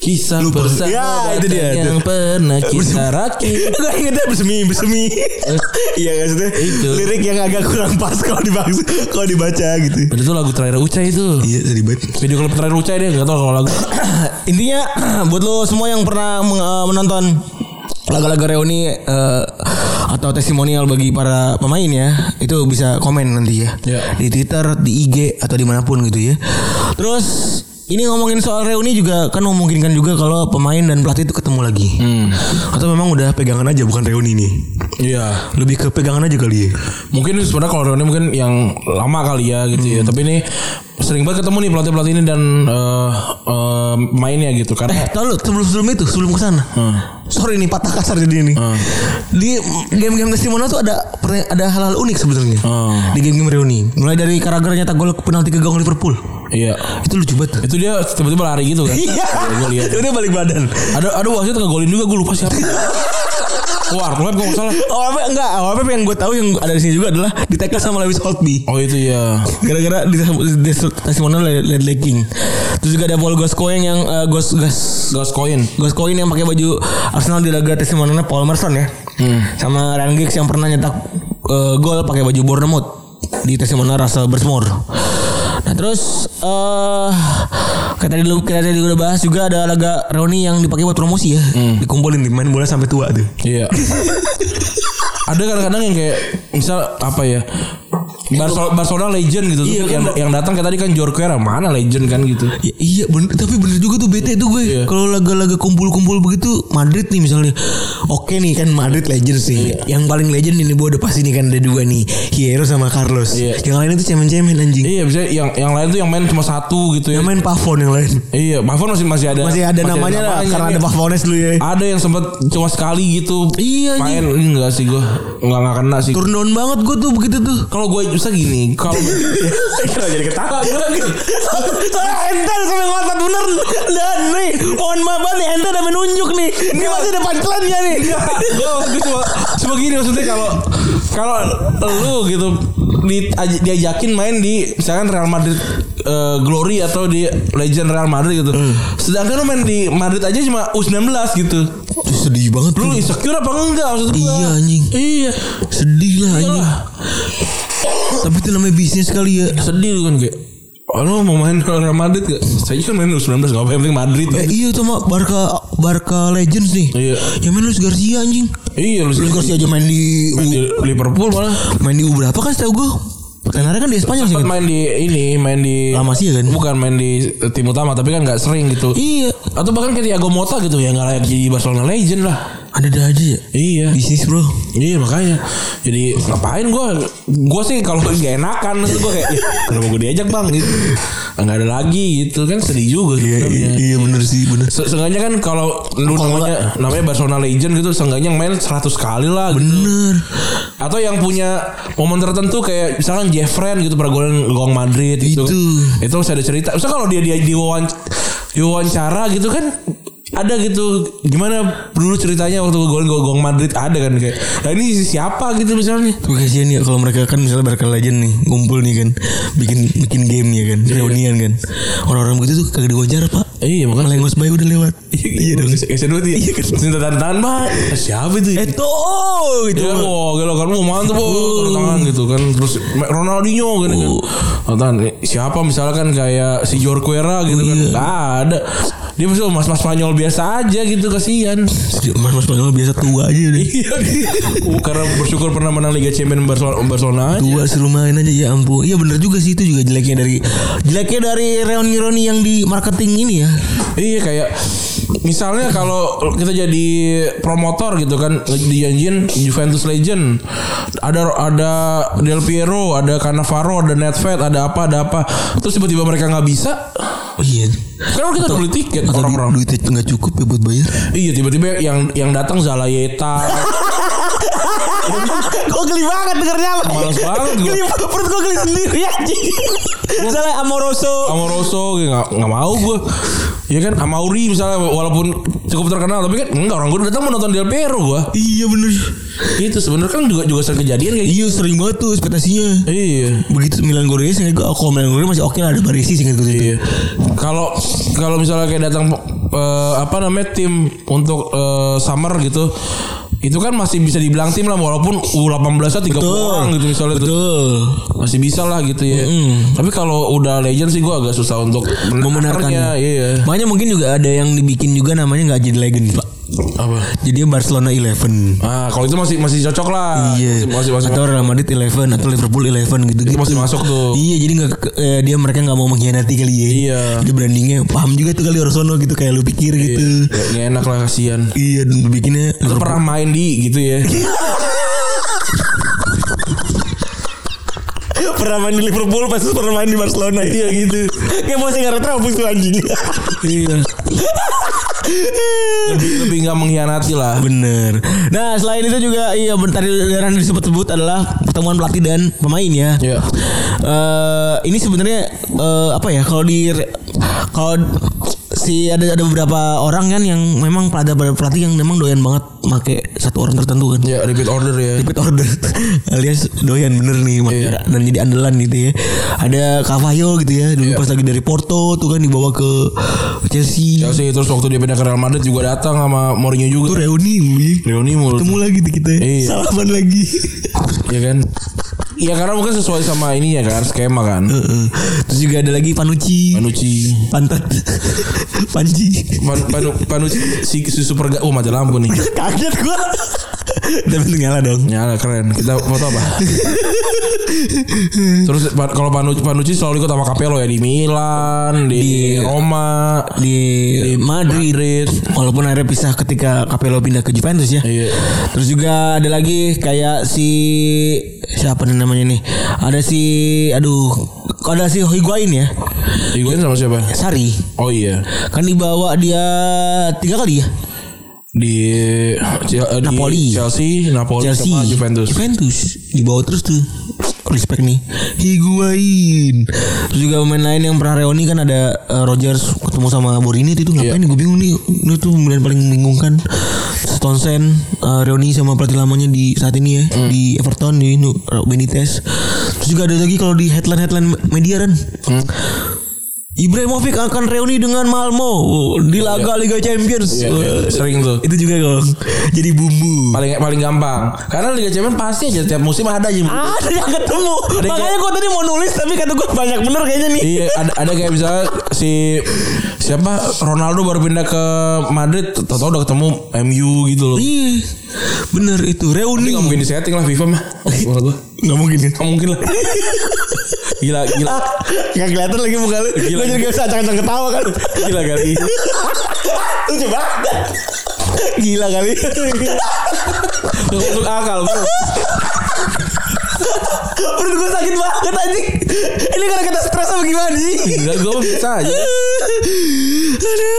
Speaker 2: Kisah
Speaker 4: Lupa.
Speaker 2: bersama
Speaker 4: Ya,
Speaker 2: bahkan
Speaker 4: itu dia, itu.
Speaker 2: Yang pernah kita Eh, rakit
Speaker 4: Gue ingetnya bersemi bersemi. Iya kan maksudnya
Speaker 2: Itu.
Speaker 4: lirik yang agak kurang pas kalau dibaksa kalau dibaca gitu.
Speaker 2: Padahal itu lagu terakhir Ucai itu
Speaker 4: Iya sedih banget.
Speaker 2: Video klip terakhir Ucai deh Gak tau kalau lagu
Speaker 4: Intinya buat lo semua yang pernah meng- eh, menonton laga-laga reuni eh, atau testimonial bagi para pemain ya itu bisa komen nanti ya
Speaker 2: Ya.
Speaker 4: di Twitter, di IG atau dimanapun gitu ya. Terus ini ngomongin soal reuni juga kan memungkinkan juga kalau pemain dan pelatih itu ketemu lagi. Atau memang udah pegangan aja bukan reuni nih.
Speaker 2: Iya
Speaker 4: Lebih ke pegangan aja kali ya.
Speaker 2: Mungkin sebenarnya kalau reuni mungkin yang lama kali ya gitu
Speaker 4: Hmm.
Speaker 2: ya Tapi ini sering banget ketemu nih pelatih-pelatih ini dan eh, eh, pemainnya gitu Karena
Speaker 4: Eh, tahu lu sebelum sebelum itu sebelum ke sana.
Speaker 2: Hmm.
Speaker 4: Sorry nih patah kasar jadi ini. Di game-game testimonial tuh ada pernah- ada hal-hal unik sebenarnya.
Speaker 2: Hmm.
Speaker 4: Di game-game reuni. Mulai dari Carragher nyetak gol ke penalti ke gawang Liverpool.
Speaker 2: Iya
Speaker 4: Itu lucu banget.
Speaker 2: Itu dia tiba-tiba lari gitu kan
Speaker 4: Iya.
Speaker 2: Gue lihat
Speaker 4: Itu dia balik badan.
Speaker 2: Ada ada wasit ngegolin juga gue lupa siapa. Wah, gue enggak salah.
Speaker 4: Awalnya Oh, enggak, awalnya yang gue tahu yang ada di sini juga adalah di tackle sama Lewis Holtby.
Speaker 2: Oh itu ya.
Speaker 4: Gara-gara di, di testimonial led legging. Terus juga ada Paul Gascoigne yang eh, Gos Gas
Speaker 2: Gas koin.
Speaker 4: Gascoigne yang pakai baju Arsenal di laga testimonialnya Paul Merson ya. Sama Ryan Giggs yang pernah nyetak eh, gol pakai baju Bournemouth di testimonial Russell Bersmore. Nah terus eh kayak tadi lu kita tadi udah bahas juga ada laga reuni yang dipakai buat promosi ya. Dikumpulin di main bola sampai tua tuh.
Speaker 2: Iya. ada kadang-kadang yang kayak misal apa ya? Barcelona, Barcelona legend gitu
Speaker 4: Iya, kan,
Speaker 2: yang,
Speaker 4: Bro.
Speaker 2: yang datang kayak tadi kan Jorquera mana legend kan gitu.
Speaker 4: Ya, iya bener, tapi bener juga tuh bete tuh gue
Speaker 2: Iya.
Speaker 4: kalau laga-laga kumpul-kumpul begitu Madrid nih misalnya oke nih kan Madrid legend sih yang paling legend ini gue udah pasti nih kan ada dua nih Hierro sama Carlos
Speaker 2: Iya.
Speaker 4: yang lain itu cemen-cemen anjing
Speaker 2: Iya, bisa yang yang lain tuh yang main cuma satu gitu ya.
Speaker 4: yang main Pavon yang lain
Speaker 2: Iya, Mavon masih masih ada. Ah,
Speaker 4: masih ada namanya lah, karena ada Pavones dulu ya
Speaker 2: Ada yang sempat cuma sekali gitu.
Speaker 4: Iya,
Speaker 2: main enggak sih gue enggak enggak kena sih.
Speaker 4: turn down banget gue tuh begitu tuh
Speaker 2: Kalau gue bisa gini, kalau
Speaker 4: Kenapa jadi
Speaker 2: ketawa gue
Speaker 4: Soalnya Enter sampai ngotot bener Dan nih Mohon maaf banget nih Enter udah menunjuk nih Ini masih ada pancelannya nih
Speaker 2: gue waktu Iya, cuma cuma gini maksudnya kalau kalau lu gitu di, aj- diajakin main di misalkan Real Madrid eh, Glory atau di Legend Real Madrid gitu.
Speaker 4: Hmm.
Speaker 2: Sedangkan lu main di Madrid aja cuma U19 gitu.
Speaker 4: Tuh, Sedih banget
Speaker 2: Lu
Speaker 4: tuh
Speaker 2: insecure apa enggak maksud gua?
Speaker 4: Hmm. Iya anjing
Speaker 2: Iya.
Speaker 4: Sedih lah anjing Tapi itu namanya bisnis kali ya
Speaker 2: Sedih lu kan kayak Oh, lu mau main Real Madrid gak? Saya kan main U19 gak apa-apa yang penting Madrid
Speaker 4: Eh, iya tuh mak Barca Barca Legends nih.
Speaker 2: Iya.
Speaker 4: Yang main Luis Garcia anjing.
Speaker 2: Iya lu
Speaker 4: Luis Garcia aja main di
Speaker 2: main di
Speaker 4: U,
Speaker 2: Liverpool malah
Speaker 4: main di U berapa kan setahu gue? Pertengahannya kan di Spanyol sih.
Speaker 2: Sempat
Speaker 4: kan?
Speaker 2: main di ini main di
Speaker 4: Lama sih ya kan?
Speaker 2: bukan main di tim utama tapi kan nggak sering gitu
Speaker 4: Iya.
Speaker 2: Atau bahkan kayak Thiago Motta gitu ya nggak layak jadi Barcelona legend lah.
Speaker 4: Ada ada aja ya.
Speaker 2: Iya.
Speaker 4: Bisnis bro.
Speaker 2: Iya makanya Jadi ngapain gue Gue sih kalau gak enakan Gue kayak ya, Kenapa gue diajak bang gitu Gak ada lagi gitu Kan sedih juga
Speaker 3: iya.
Speaker 2: sebenarnya.
Speaker 4: bener sih bener.
Speaker 2: Se- Seenggaknya kan kalau lu
Speaker 4: Kalau
Speaker 2: namanya namanya Barcelona Legend gitu seenggaknya main 100 kali lah gitu.
Speaker 4: Bener.
Speaker 2: Atau yang punya momen tertentu kayak misalkan Jeffren gitu pernah golin gawang Madrid gitu.
Speaker 4: Itu.
Speaker 2: Itu masih ada cerita. Misalnya kalau dia dia diwawan- diwawancara gitu kan ada gitu gimana dulu ceritanya waktu golin gawang Madrid ada kan kayak nah ini siapa gitu misalnya
Speaker 4: Tapi kasihan ya kalau mereka kan misalnya Barca Legend nih ngumpul nih kan bikin bikin game nih ya kan reunian kan orang-orang begitu tuh kagak diwawancara pak
Speaker 2: iya makanya
Speaker 4: Lengos Bay udah lewat
Speaker 2: iya dong SN2 iya kan minta tanda tangan pak siapa itu ya?
Speaker 4: Eto oh, gitu
Speaker 2: Iya, wah, gila kan mau mantep wah, tanda tangan gitu kan. Terus Ronaldinho gini kan. Tanda tangan. siapa misalkan kayak si Jorquera gitu kan. Enggak ada. Dia mesti mas-mas Spanyol biasa aja gitu kasihan.
Speaker 4: Mas mas Spanyol biasa tua aja udah
Speaker 2: Oh, Karena bersyukur pernah menang Liga Champions Barcelona, Barcelona aja.
Speaker 4: Tua suruh main aja ya ampun Iya bener juga sih itu juga jeleknya dari Jeleknya dari reuni-reuni yang di marketing ini ya
Speaker 2: Iya kayak misalnya kalau kita jadi promotor gitu kan dijanjin Juventus Legend ada ada Del Piero ada Cannavaro ada Nedved ada apa ada apa terus tiba-tiba mereka nggak bisa
Speaker 4: Oh iya
Speaker 2: Karena Kan kita beli tiket
Speaker 4: Atau
Speaker 2: orang-orang.
Speaker 4: du- duitnya nggak cukup ya buat bayar
Speaker 2: Iya tiba-tiba yang yang datang Zalayeta.
Speaker 4: Gue geli banget dengernya apa?
Speaker 2: Males banget gua.
Speaker 4: Geli perut gue geli sendiri anjing. Misalnya Amoroso.
Speaker 2: Amoroso gitu nggak nggak mau gue ya kan Amauri misalnya walaupun cukup terkenal tapi kan enggak orang gue datang mau nonton Del Piero gue
Speaker 4: Iya bener.
Speaker 2: itu sebenarnya kan juga juga sering kejadian kayak gitu
Speaker 4: Iya sering banget tuh ekspektasinya.
Speaker 2: iya
Speaker 4: Begitu Milan Gorilla sih gue kalau Milan Gorilla masih oke lah ada Baresi sih gitu.
Speaker 2: iya kalau kalau misalnya kayak datang eh, apa namanya tim untuk eh, summer gitu itu kan masih bisa dibilang tim lah walaupun U18 nya 30 orang gitu misalnya tuh.
Speaker 4: Betul.
Speaker 2: masih bisa lah gitu ya tapi kalau udah legend sih gue agak susah untuk
Speaker 4: Membenarkannya.
Speaker 2: iya
Speaker 4: Makanya mungkin juga ada yang dibikin juga namanya nggak jadi legend pak.
Speaker 2: apa
Speaker 4: Jadi Barcelona 11
Speaker 2: ah kalau itu masih masih cocok lah
Speaker 4: Iya.
Speaker 2: masih masih, masih
Speaker 4: atau Real Madrid 11 atau Liverpool 11 gitu gitu.
Speaker 2: masih masuk tuh
Speaker 4: Iya jadi nggak ke- eh, dia mereka nggak mau mengkhianati kali ya.
Speaker 2: Iya.
Speaker 4: Jadi brandingnya paham juga tuh kali Orsono gitu kayak lu pikir gitu.
Speaker 2: Ya, nggak enak lah kasihan
Speaker 4: Iya dan bikinnya
Speaker 2: Lu pernah main di gitu ya
Speaker 4: pernah main di Liverpool pas itu pernah main di Barcelona iya gitu nggak mau sih nggak terapus tuh anjing
Speaker 2: iya lebih lebih nggak mengkhianati lah
Speaker 4: bener nah selain itu juga iya bentar yang disebut-sebut adalah pertemuan pelatih dan pemain ya
Speaker 2: Iya.
Speaker 4: Eh, ini sebenarnya eh, apa ya kalau di kalau si ada ada beberapa orang kan yang memang pada pada pelatih yang memang doyan banget make satu orang tertentu kan
Speaker 2: ya repeat order ya
Speaker 4: repeat order alias doyan bener nih Mak.
Speaker 2: Iya.
Speaker 4: dan jadi andalan gitu ya ada Cavallo gitu ya dulu pas lagi dari Porto tuh kan dibawa ke Chelsea
Speaker 2: ya sih terus waktu dia pindah ke Real Madrid juga datang sama Mourinho
Speaker 4: Tuh
Speaker 2: juga
Speaker 4: reuni ya.
Speaker 2: Leoni mulu
Speaker 4: ketemu lagi tuh kita ya.
Speaker 2: Iya.
Speaker 4: salaman lagi
Speaker 2: ya kan ya karena mungkin sesuai sama ini ya kan skema kan
Speaker 4: Heeh. terus juga ada lagi Panucci
Speaker 2: Panucci
Speaker 4: pantat Panji
Speaker 2: Pan, panu, Panucci si, si super ga- oh mati lampu nih
Speaker 4: kaget gua tapi itu nyala dong
Speaker 2: nyala keren kita foto apa terus pa- kalau Panucci, Panucci selalu ikut sama Capello ya di Milan di, Roma
Speaker 4: di, Madrid.
Speaker 2: Madrid
Speaker 4: Walaupun akhirnya pisah ketika Capello pindah ke Juventus ya.
Speaker 2: Iya.
Speaker 4: Terus juga ada lagi kayak si siapa nih namanya nih? Ada si aduh, ada si Higuain ya.
Speaker 2: Higuain sama siapa
Speaker 4: Sari.
Speaker 2: oh iya
Speaker 4: Kan dibawa dia tiga kali ya.
Speaker 2: di, Chel- eh, di
Speaker 4: Napoli.
Speaker 2: Chelsea Napoli
Speaker 4: Chelsea,
Speaker 2: sama Juventus
Speaker 4: Juventus dibawa terus tuh. Respect nih. Higuain. Terus juga pemain lain yang pernah reuni kan ada eh, Rogers ketemu sama Borini itu
Speaker 2: Iya.
Speaker 4: ngapain nih gue bingung nih. Ini tuh pemilihan paling membingungkan. Stonesen eh, reuni sama pelatih lamanya di saat ini ya
Speaker 2: Hmm.
Speaker 4: di Everton di Nu- Benitez. Terus juga ada lagi kalau di headline-headline media kan.
Speaker 2: Hmm.
Speaker 4: Ibrahimovic akan reuni dengan Malmo di laga Liga Champions.
Speaker 2: Iya, iya, sering tuh
Speaker 4: Itu juga dong. Jadi bumbu.
Speaker 2: paling paling gampang karena Liga Champions pasti aja tiap musim ada aja
Speaker 4: Ada yang Ah, ketemu.
Speaker 2: yang-
Speaker 4: Makanya gue tadi mau nulis tapi kata gue banyak bener kayaknya nih.
Speaker 2: Iya ada, ada kayak misalnya si siapa Ronaldo baru pindah ke Madrid tau-tau udah ketemu MU gitu loh.
Speaker 4: Iya. Bener itu
Speaker 2: Ini
Speaker 4: reuni.
Speaker 2: nggak mungkin disetting lah FIFA mah. Menurut gua.
Speaker 4: Gak mungkin kan?
Speaker 2: Nggak mungkin lah. Gila gila
Speaker 4: Gak kelihatan lagi muka lu.
Speaker 2: Gila.
Speaker 4: Gue jadi gak bisa acang-acang ketawa kan.
Speaker 2: gila kali.
Speaker 4: Lucu banget. Gila kali.
Speaker 2: Nggak Masuk akal bro.
Speaker 4: Perut gue sakit banget anjing. Ini karena kita stres apa gimana sih?
Speaker 2: Gila gue bisa aja.
Speaker 4: Aduh, aduh.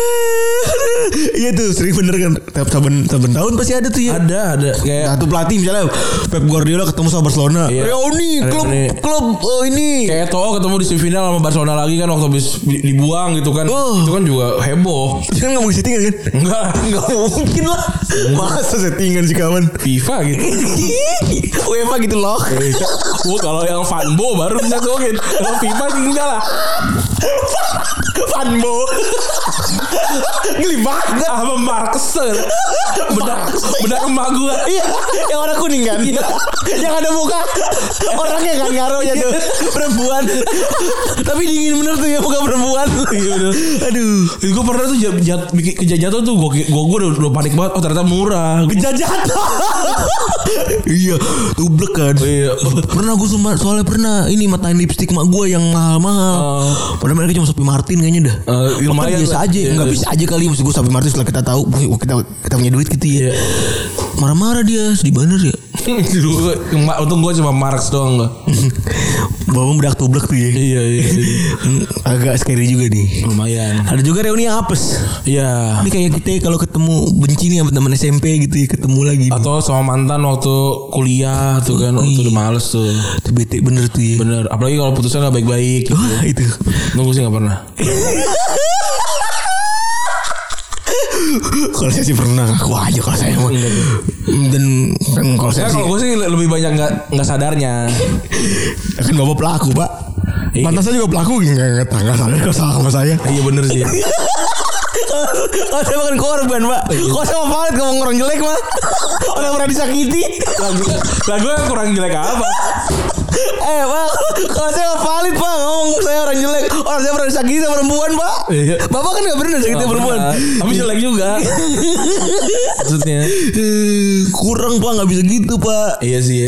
Speaker 4: Iya tuh sering bener kan. Tiap saben saben tahun pasti ada tuh ya.
Speaker 2: Ada ada kayak
Speaker 4: Satu pelatih misalnya Pep Guardiola ketemu sama Barcelona.
Speaker 2: Iya.
Speaker 4: Reuni klub
Speaker 2: Reuni.
Speaker 4: klub oh ini.
Speaker 2: kayak Eto'o ketemu di semifinal sama Barcelona lagi kan waktu habis di- dibuang gitu kan.
Speaker 4: Oh.
Speaker 2: Itu kan juga heboh.
Speaker 4: Itu kan gak mungkin settingan kan?
Speaker 2: Enggak lah.
Speaker 4: Gak mungkin lah. Masa settingan sih kawan?
Speaker 2: FIFA gitu.
Speaker 4: UEFA gitu loh.
Speaker 2: Wah Iya. Oh, kalau yang fanbo baru bisa tuh mungkin. Kalau FIFA sih enggak lah.
Speaker 4: Fanbo. Geli banget.
Speaker 2: Apa Markeser Bedak Bedak emak gue
Speaker 4: Iya, yang orang kuning kan?
Speaker 2: Iya,
Speaker 4: yang ada muka orangnya kan ngaruhnya tuh perempuan. Tapi dingin bener tuh ya muka perempuan.
Speaker 2: Iya,
Speaker 4: Aduh.
Speaker 2: Gue pernah tuh jat, jat, bikin kejajatan tuh Gue gue gue udah, udah panik banget Oh ternyata murah Gua-
Speaker 4: Jajatan. iya, tublek kan.
Speaker 2: Iya.
Speaker 4: pernah gue sumpah soalnya pernah ini matain lipstick mak gue yang mahal-mahal.
Speaker 2: Oh.
Speaker 4: Padahal mereka cuma sapi Martin kayaknya dah.
Speaker 2: Eh, lumayan
Speaker 4: Makanya biasa
Speaker 2: lah.
Speaker 4: aja,
Speaker 2: Iya,
Speaker 4: nggak
Speaker 2: iya.
Speaker 4: bisa aja kali maksud gue sapi Martin setelah kita tahu, wah, kita kita punya duit gitu ya.
Speaker 2: Iya.
Speaker 4: Marah-marah dia, sedih bener ya.
Speaker 2: Dulu ma- untung gue cuma Marx doang gua.
Speaker 4: Bapak bedak tublek tuh ya.
Speaker 2: Iya iya. iya.
Speaker 4: Hmm, Agak scary juga nih.
Speaker 2: Lumayan.
Speaker 4: Ada juga reuni yang apes.
Speaker 2: Iya.
Speaker 4: Ini kayak kita kalau ketemu benci nih sama teman SMP gitu ya ketemu lagi. nih.
Speaker 2: Atau sama mantan waktu kuliah tuh kan waktu udah males tuh.
Speaker 4: Itu bete bener tuh ya.
Speaker 2: Bener. Apalagi kalau putusnya nggak baik-baik.
Speaker 4: Wah itu.
Speaker 2: Nunggu sih nggak pernah.
Speaker 4: Kalau saya sih pernah aku aja kalau saya mah. Dan kan kalau saya
Speaker 2: Ya
Speaker 4: sih
Speaker 2: kalau gue sih lebih banyak nggak nggak sadarnya.
Speaker 4: kan bapak pelaku pak.
Speaker 2: Iya.
Speaker 4: Mantan saya juga pelaku gitu, nggak nggak nggak sadar kalau salah sama saya.
Speaker 2: Iya bener sih.
Speaker 4: Kalau Oh, saya bukan korban pak. Kalau saya mau palit ngomong orang jelek mah. Orang pernah disakiti.
Speaker 2: Lah gue kurang jelek apa?
Speaker 4: Eh pak, kalau saya mau palit pak ngomong saya orang jelek. Orang saya pernah disakiti sama perempuan pak.
Speaker 2: Iya.
Speaker 4: Bapak kan nggak pernah disakiti sama perempuan.
Speaker 2: Tapi jelek juga. Maksudnya.
Speaker 4: Eh, kurang pak nggak bisa gitu pak
Speaker 2: Iya sih.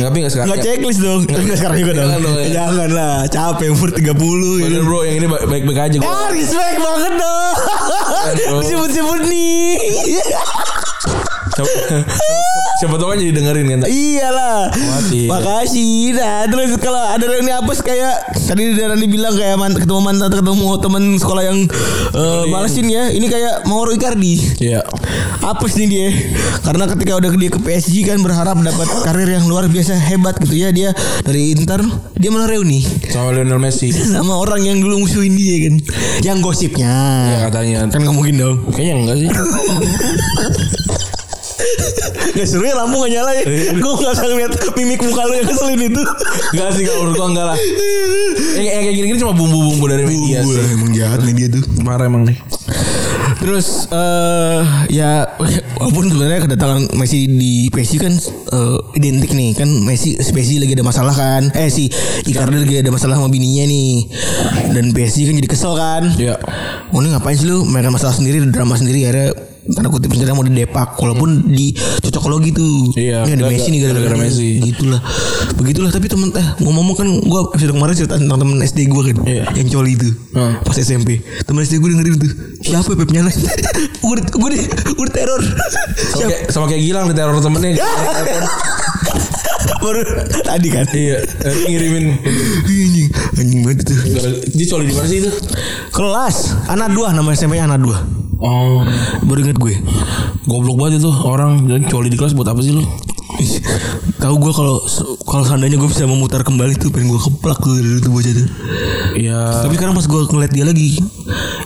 Speaker 2: Tapi nggak sekarang.
Speaker 4: nggak checklist dong nggak sekarang juga dong
Speaker 2: Jangan dong, ya.
Speaker 4: jangan lah capek umur 30 gitu.
Speaker 2: Bener bro yang ini ba- baik-baik aja kok.
Speaker 4: ah respect banget dong
Speaker 2: bro.
Speaker 4: disebut-sebut nih
Speaker 2: Siapa, siapa tau kan jadi dengerin kan.
Speaker 4: iyalah
Speaker 2: iya.
Speaker 4: makasih nah terus kalau ada reuni apa sih kayak tadi udah Randi bilang kayak man, ketemu mantan ketemu teman sekolah yang eh, malesin ya ini kayak Mauro Icardi
Speaker 2: Iya.
Speaker 4: Apes nih dia Karena ketika udah dia ke PSG kan berharap dapat karir yang luar biasa hebat gitu ya Dia dari Inter Dia malah reuni
Speaker 2: Sama Lionel Messi.
Speaker 4: Sama orang yang dulu musuhin dia kan Yang gosipnya
Speaker 2: Ya katanya.
Speaker 4: Kan gak mungkin dong
Speaker 2: Kayaknya enggak sih.
Speaker 4: Gak seru ya lampu gak nyala ya Gue gak usah ngeliat mimik muka lu yang keselin itu
Speaker 2: Enggak sih kalau menurut gua enggak lah. Yang yang kayak gini-gini cuma bumbu-bumbu dari media
Speaker 4: Gue
Speaker 2: sih.
Speaker 4: emang jahat nih dia tuh
Speaker 2: Marah emang nih.
Speaker 4: Terus eh ya walaupun sebenarnya kedatangan Messi di PSG kan eh, identik nih kan Messi si Messi lagi ada masalah kan eh si Icardi lagi ada masalah sama bininya nih dan PSG kan jadi kesel kan
Speaker 2: Iya.
Speaker 4: Oh ini ngapain sih lu mereka masalah sendiri drama sendiri akhirnya tanda kutip sendiri mau didepak walaupun di cocok logi tuh
Speaker 2: Iya,
Speaker 4: ini ada
Speaker 2: gara-
Speaker 4: Messi nih gara-gara
Speaker 2: gara-gara
Speaker 4: Messi
Speaker 2: Messi.
Speaker 4: gitulah begitulah tapi temen eh ngomong-ngomong kan gue episode kemarin cerita tentang temen SD gue kan
Speaker 2: Iya.
Speaker 4: yang coli itu
Speaker 2: Hmm.
Speaker 4: pas SMP temen SD gue dengerin tuh siapa Pep Nyala gue gue di gue di teror
Speaker 2: Sama kayak, sama kayak Gilang di teror temennya.
Speaker 4: baru Ah, tadi kan
Speaker 2: iya. eh, Ngirimin.
Speaker 4: Ih, anjing anjing banget itu
Speaker 2: Dia coli di mana sih itu?
Speaker 4: kelas anak dua nama SMP nya anak dua
Speaker 2: Oh.
Speaker 4: baru inget gue
Speaker 2: Goblok banget itu orang. Dan coli di kelas buat apa sih lu?
Speaker 4: Ih, tahu gue kalau kalau seandainya gue bisa memutar kembali tuh pengen gue keplak tuh dari itu bocah tuh
Speaker 2: Iya.
Speaker 4: tapi sekarang pas gue ngeliat dia lagi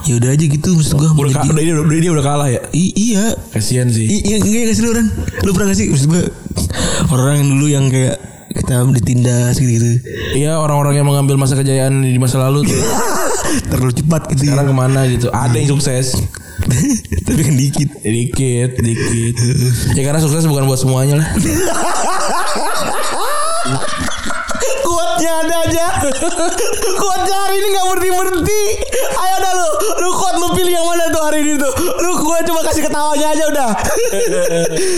Speaker 4: ya udah aja gitu maksud gue
Speaker 2: Udah, ka- udah, dia, udah dia udah kalah ya.
Speaker 4: I- iya
Speaker 2: Kasihan sih.
Speaker 4: I- iya enggak enggak sih lu Ran lu pernah gak sih maksud gue orang yang dulu yang kayak kita ditindas gitu gitu
Speaker 2: Iya orang-orang yang mengambil masa kejayaan di masa lalu tuh.
Speaker 4: terlalu cepat gitu ya
Speaker 2: Sekarang kemana gitu. Ada yang sukses.
Speaker 4: tapi kan dikit
Speaker 2: Dikit, dikit. Ya karena sukses bukan buat semuanya lah.
Speaker 4: kuatnya ada aja kuatnya hari ini nggak berhenti berhenti ayo dah lu lu kuat lu pilih yang mana tuh hari ini tuh lu gua cuma kasih ketawanya aja udah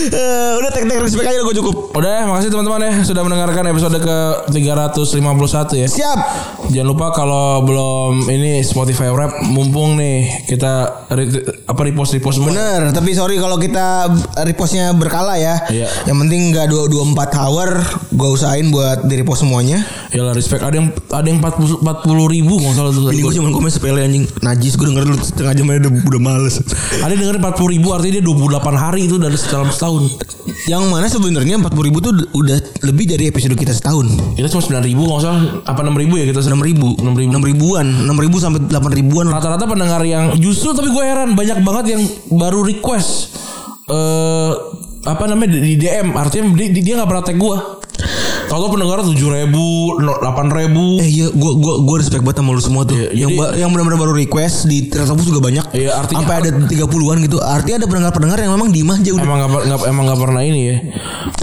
Speaker 4: Eh, udah tek tek respect aja gua cukup
Speaker 2: Udah ya, makasih teman-teman ya sudah mendengarkan episode ke 351 ya.
Speaker 4: siap
Speaker 2: Jangan lupa kalau belum ini Spotify Wrap mumpung nih kita re- apa repost repost semua.
Speaker 4: bener tapi sorry kalau kita repostnya berkala ya
Speaker 2: Iya.
Speaker 4: yang penting nggak dua dua empat hour gua usahain buat di repost semuanya
Speaker 2: Ya lah respect ada yang ada yang 40 40 ribu nggak salah tuh.
Speaker 4: ini gua cuma komen sepele anjing najis gua denger dulu setengah jam aja udah, udah males
Speaker 2: Ada yang dengerin 40 ribu artinya dia 28 hari itu dari dalam setahun.
Speaker 4: yang mana sebenarnya empat ribu tuh udah lebih dari episode kita setahun
Speaker 2: Kita cuma 9 ribu nggak salah apa 6 ribu ya kita
Speaker 4: enam ribu enam ribu enam ribuan enam ribu sampai delapan ribuan
Speaker 2: rata-rata pendengar yang justru tapi gue heran banyak banget yang baru request eh apa namanya di di DM artinya di- di- dia nggak pernah tag gue kalau pendengar tujuh ribu delapan ribu
Speaker 4: eh iya gua gua gua respect banget sama lu semua tuh
Speaker 2: Iya,
Speaker 4: yang
Speaker 2: jadi-
Speaker 4: ba- yang benar-benar baru request di Teletubbies juga banyak
Speaker 2: Iya, artinya-
Speaker 4: sampai ada 30-an gitu artinya ada pendengar-pendengar yang memang diem aja udah
Speaker 2: emang nggak per- nggak- emang nggak pernah ini ya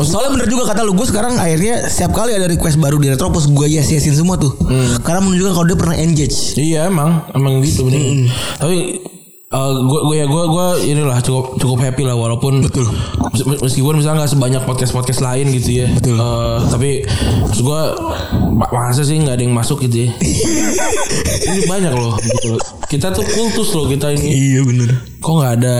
Speaker 4: Soalnya bener juga kata lu Gue sekarang akhirnya Setiap kali ada request baru di Retropos Gue yes-yesin semua tuh
Speaker 2: Hmm.
Speaker 4: Karena menunjukkan kalau dia pernah engage
Speaker 2: iya emang emang gitu bener tapi gue gue ya gue gue inilah cukup cukup happy lah walaupun
Speaker 4: Betul.
Speaker 2: mes- meskipun misalnya nggak sebanyak podcast podcast lain gitu ya
Speaker 4: Betul.
Speaker 2: Eh, tapi maksud gue masa sih nggak ada yang masuk gitu ya ini banyak loh gitu loh. kita tuh kultus loh kita ini
Speaker 4: Iya bener
Speaker 2: kok nggak ada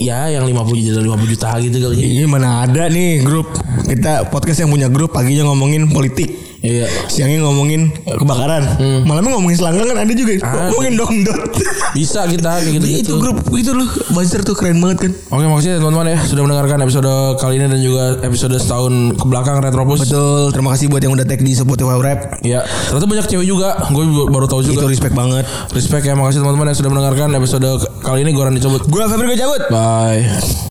Speaker 2: ya yang 50 juta 50 juta gitu kali ya.
Speaker 3: Iya mana ada nih grup kita podcast yang punya grup paginya ngomongin politik
Speaker 2: Iya.
Speaker 3: siangnya ngomongin eh, kebakaran malamnya ngomongin selangkangan ada juga
Speaker 2: Ah.
Speaker 3: ngomongin dongdot
Speaker 2: Bisa kita kayak
Speaker 3: Iya, itu
Speaker 2: gitu-gitu.
Speaker 3: grup itu loh buzzer tuh keren banget kan
Speaker 2: Oke makasih ya teman-teman ya sudah mendengarkan episode kali ini dan juga episode setahun kebelakang Retropus.
Speaker 3: betul terima kasih buat yang udah tag di Spotify Rap
Speaker 2: Ya, ternyata banyak cewek juga. Gue baru tahu
Speaker 3: itu
Speaker 2: juga.
Speaker 3: respect banget
Speaker 2: Respect ya, makasih teman-teman yang sudah mendengarkan episode kali ini Goran dicabut.
Speaker 3: gue Febri gue cabut
Speaker 2: Bye.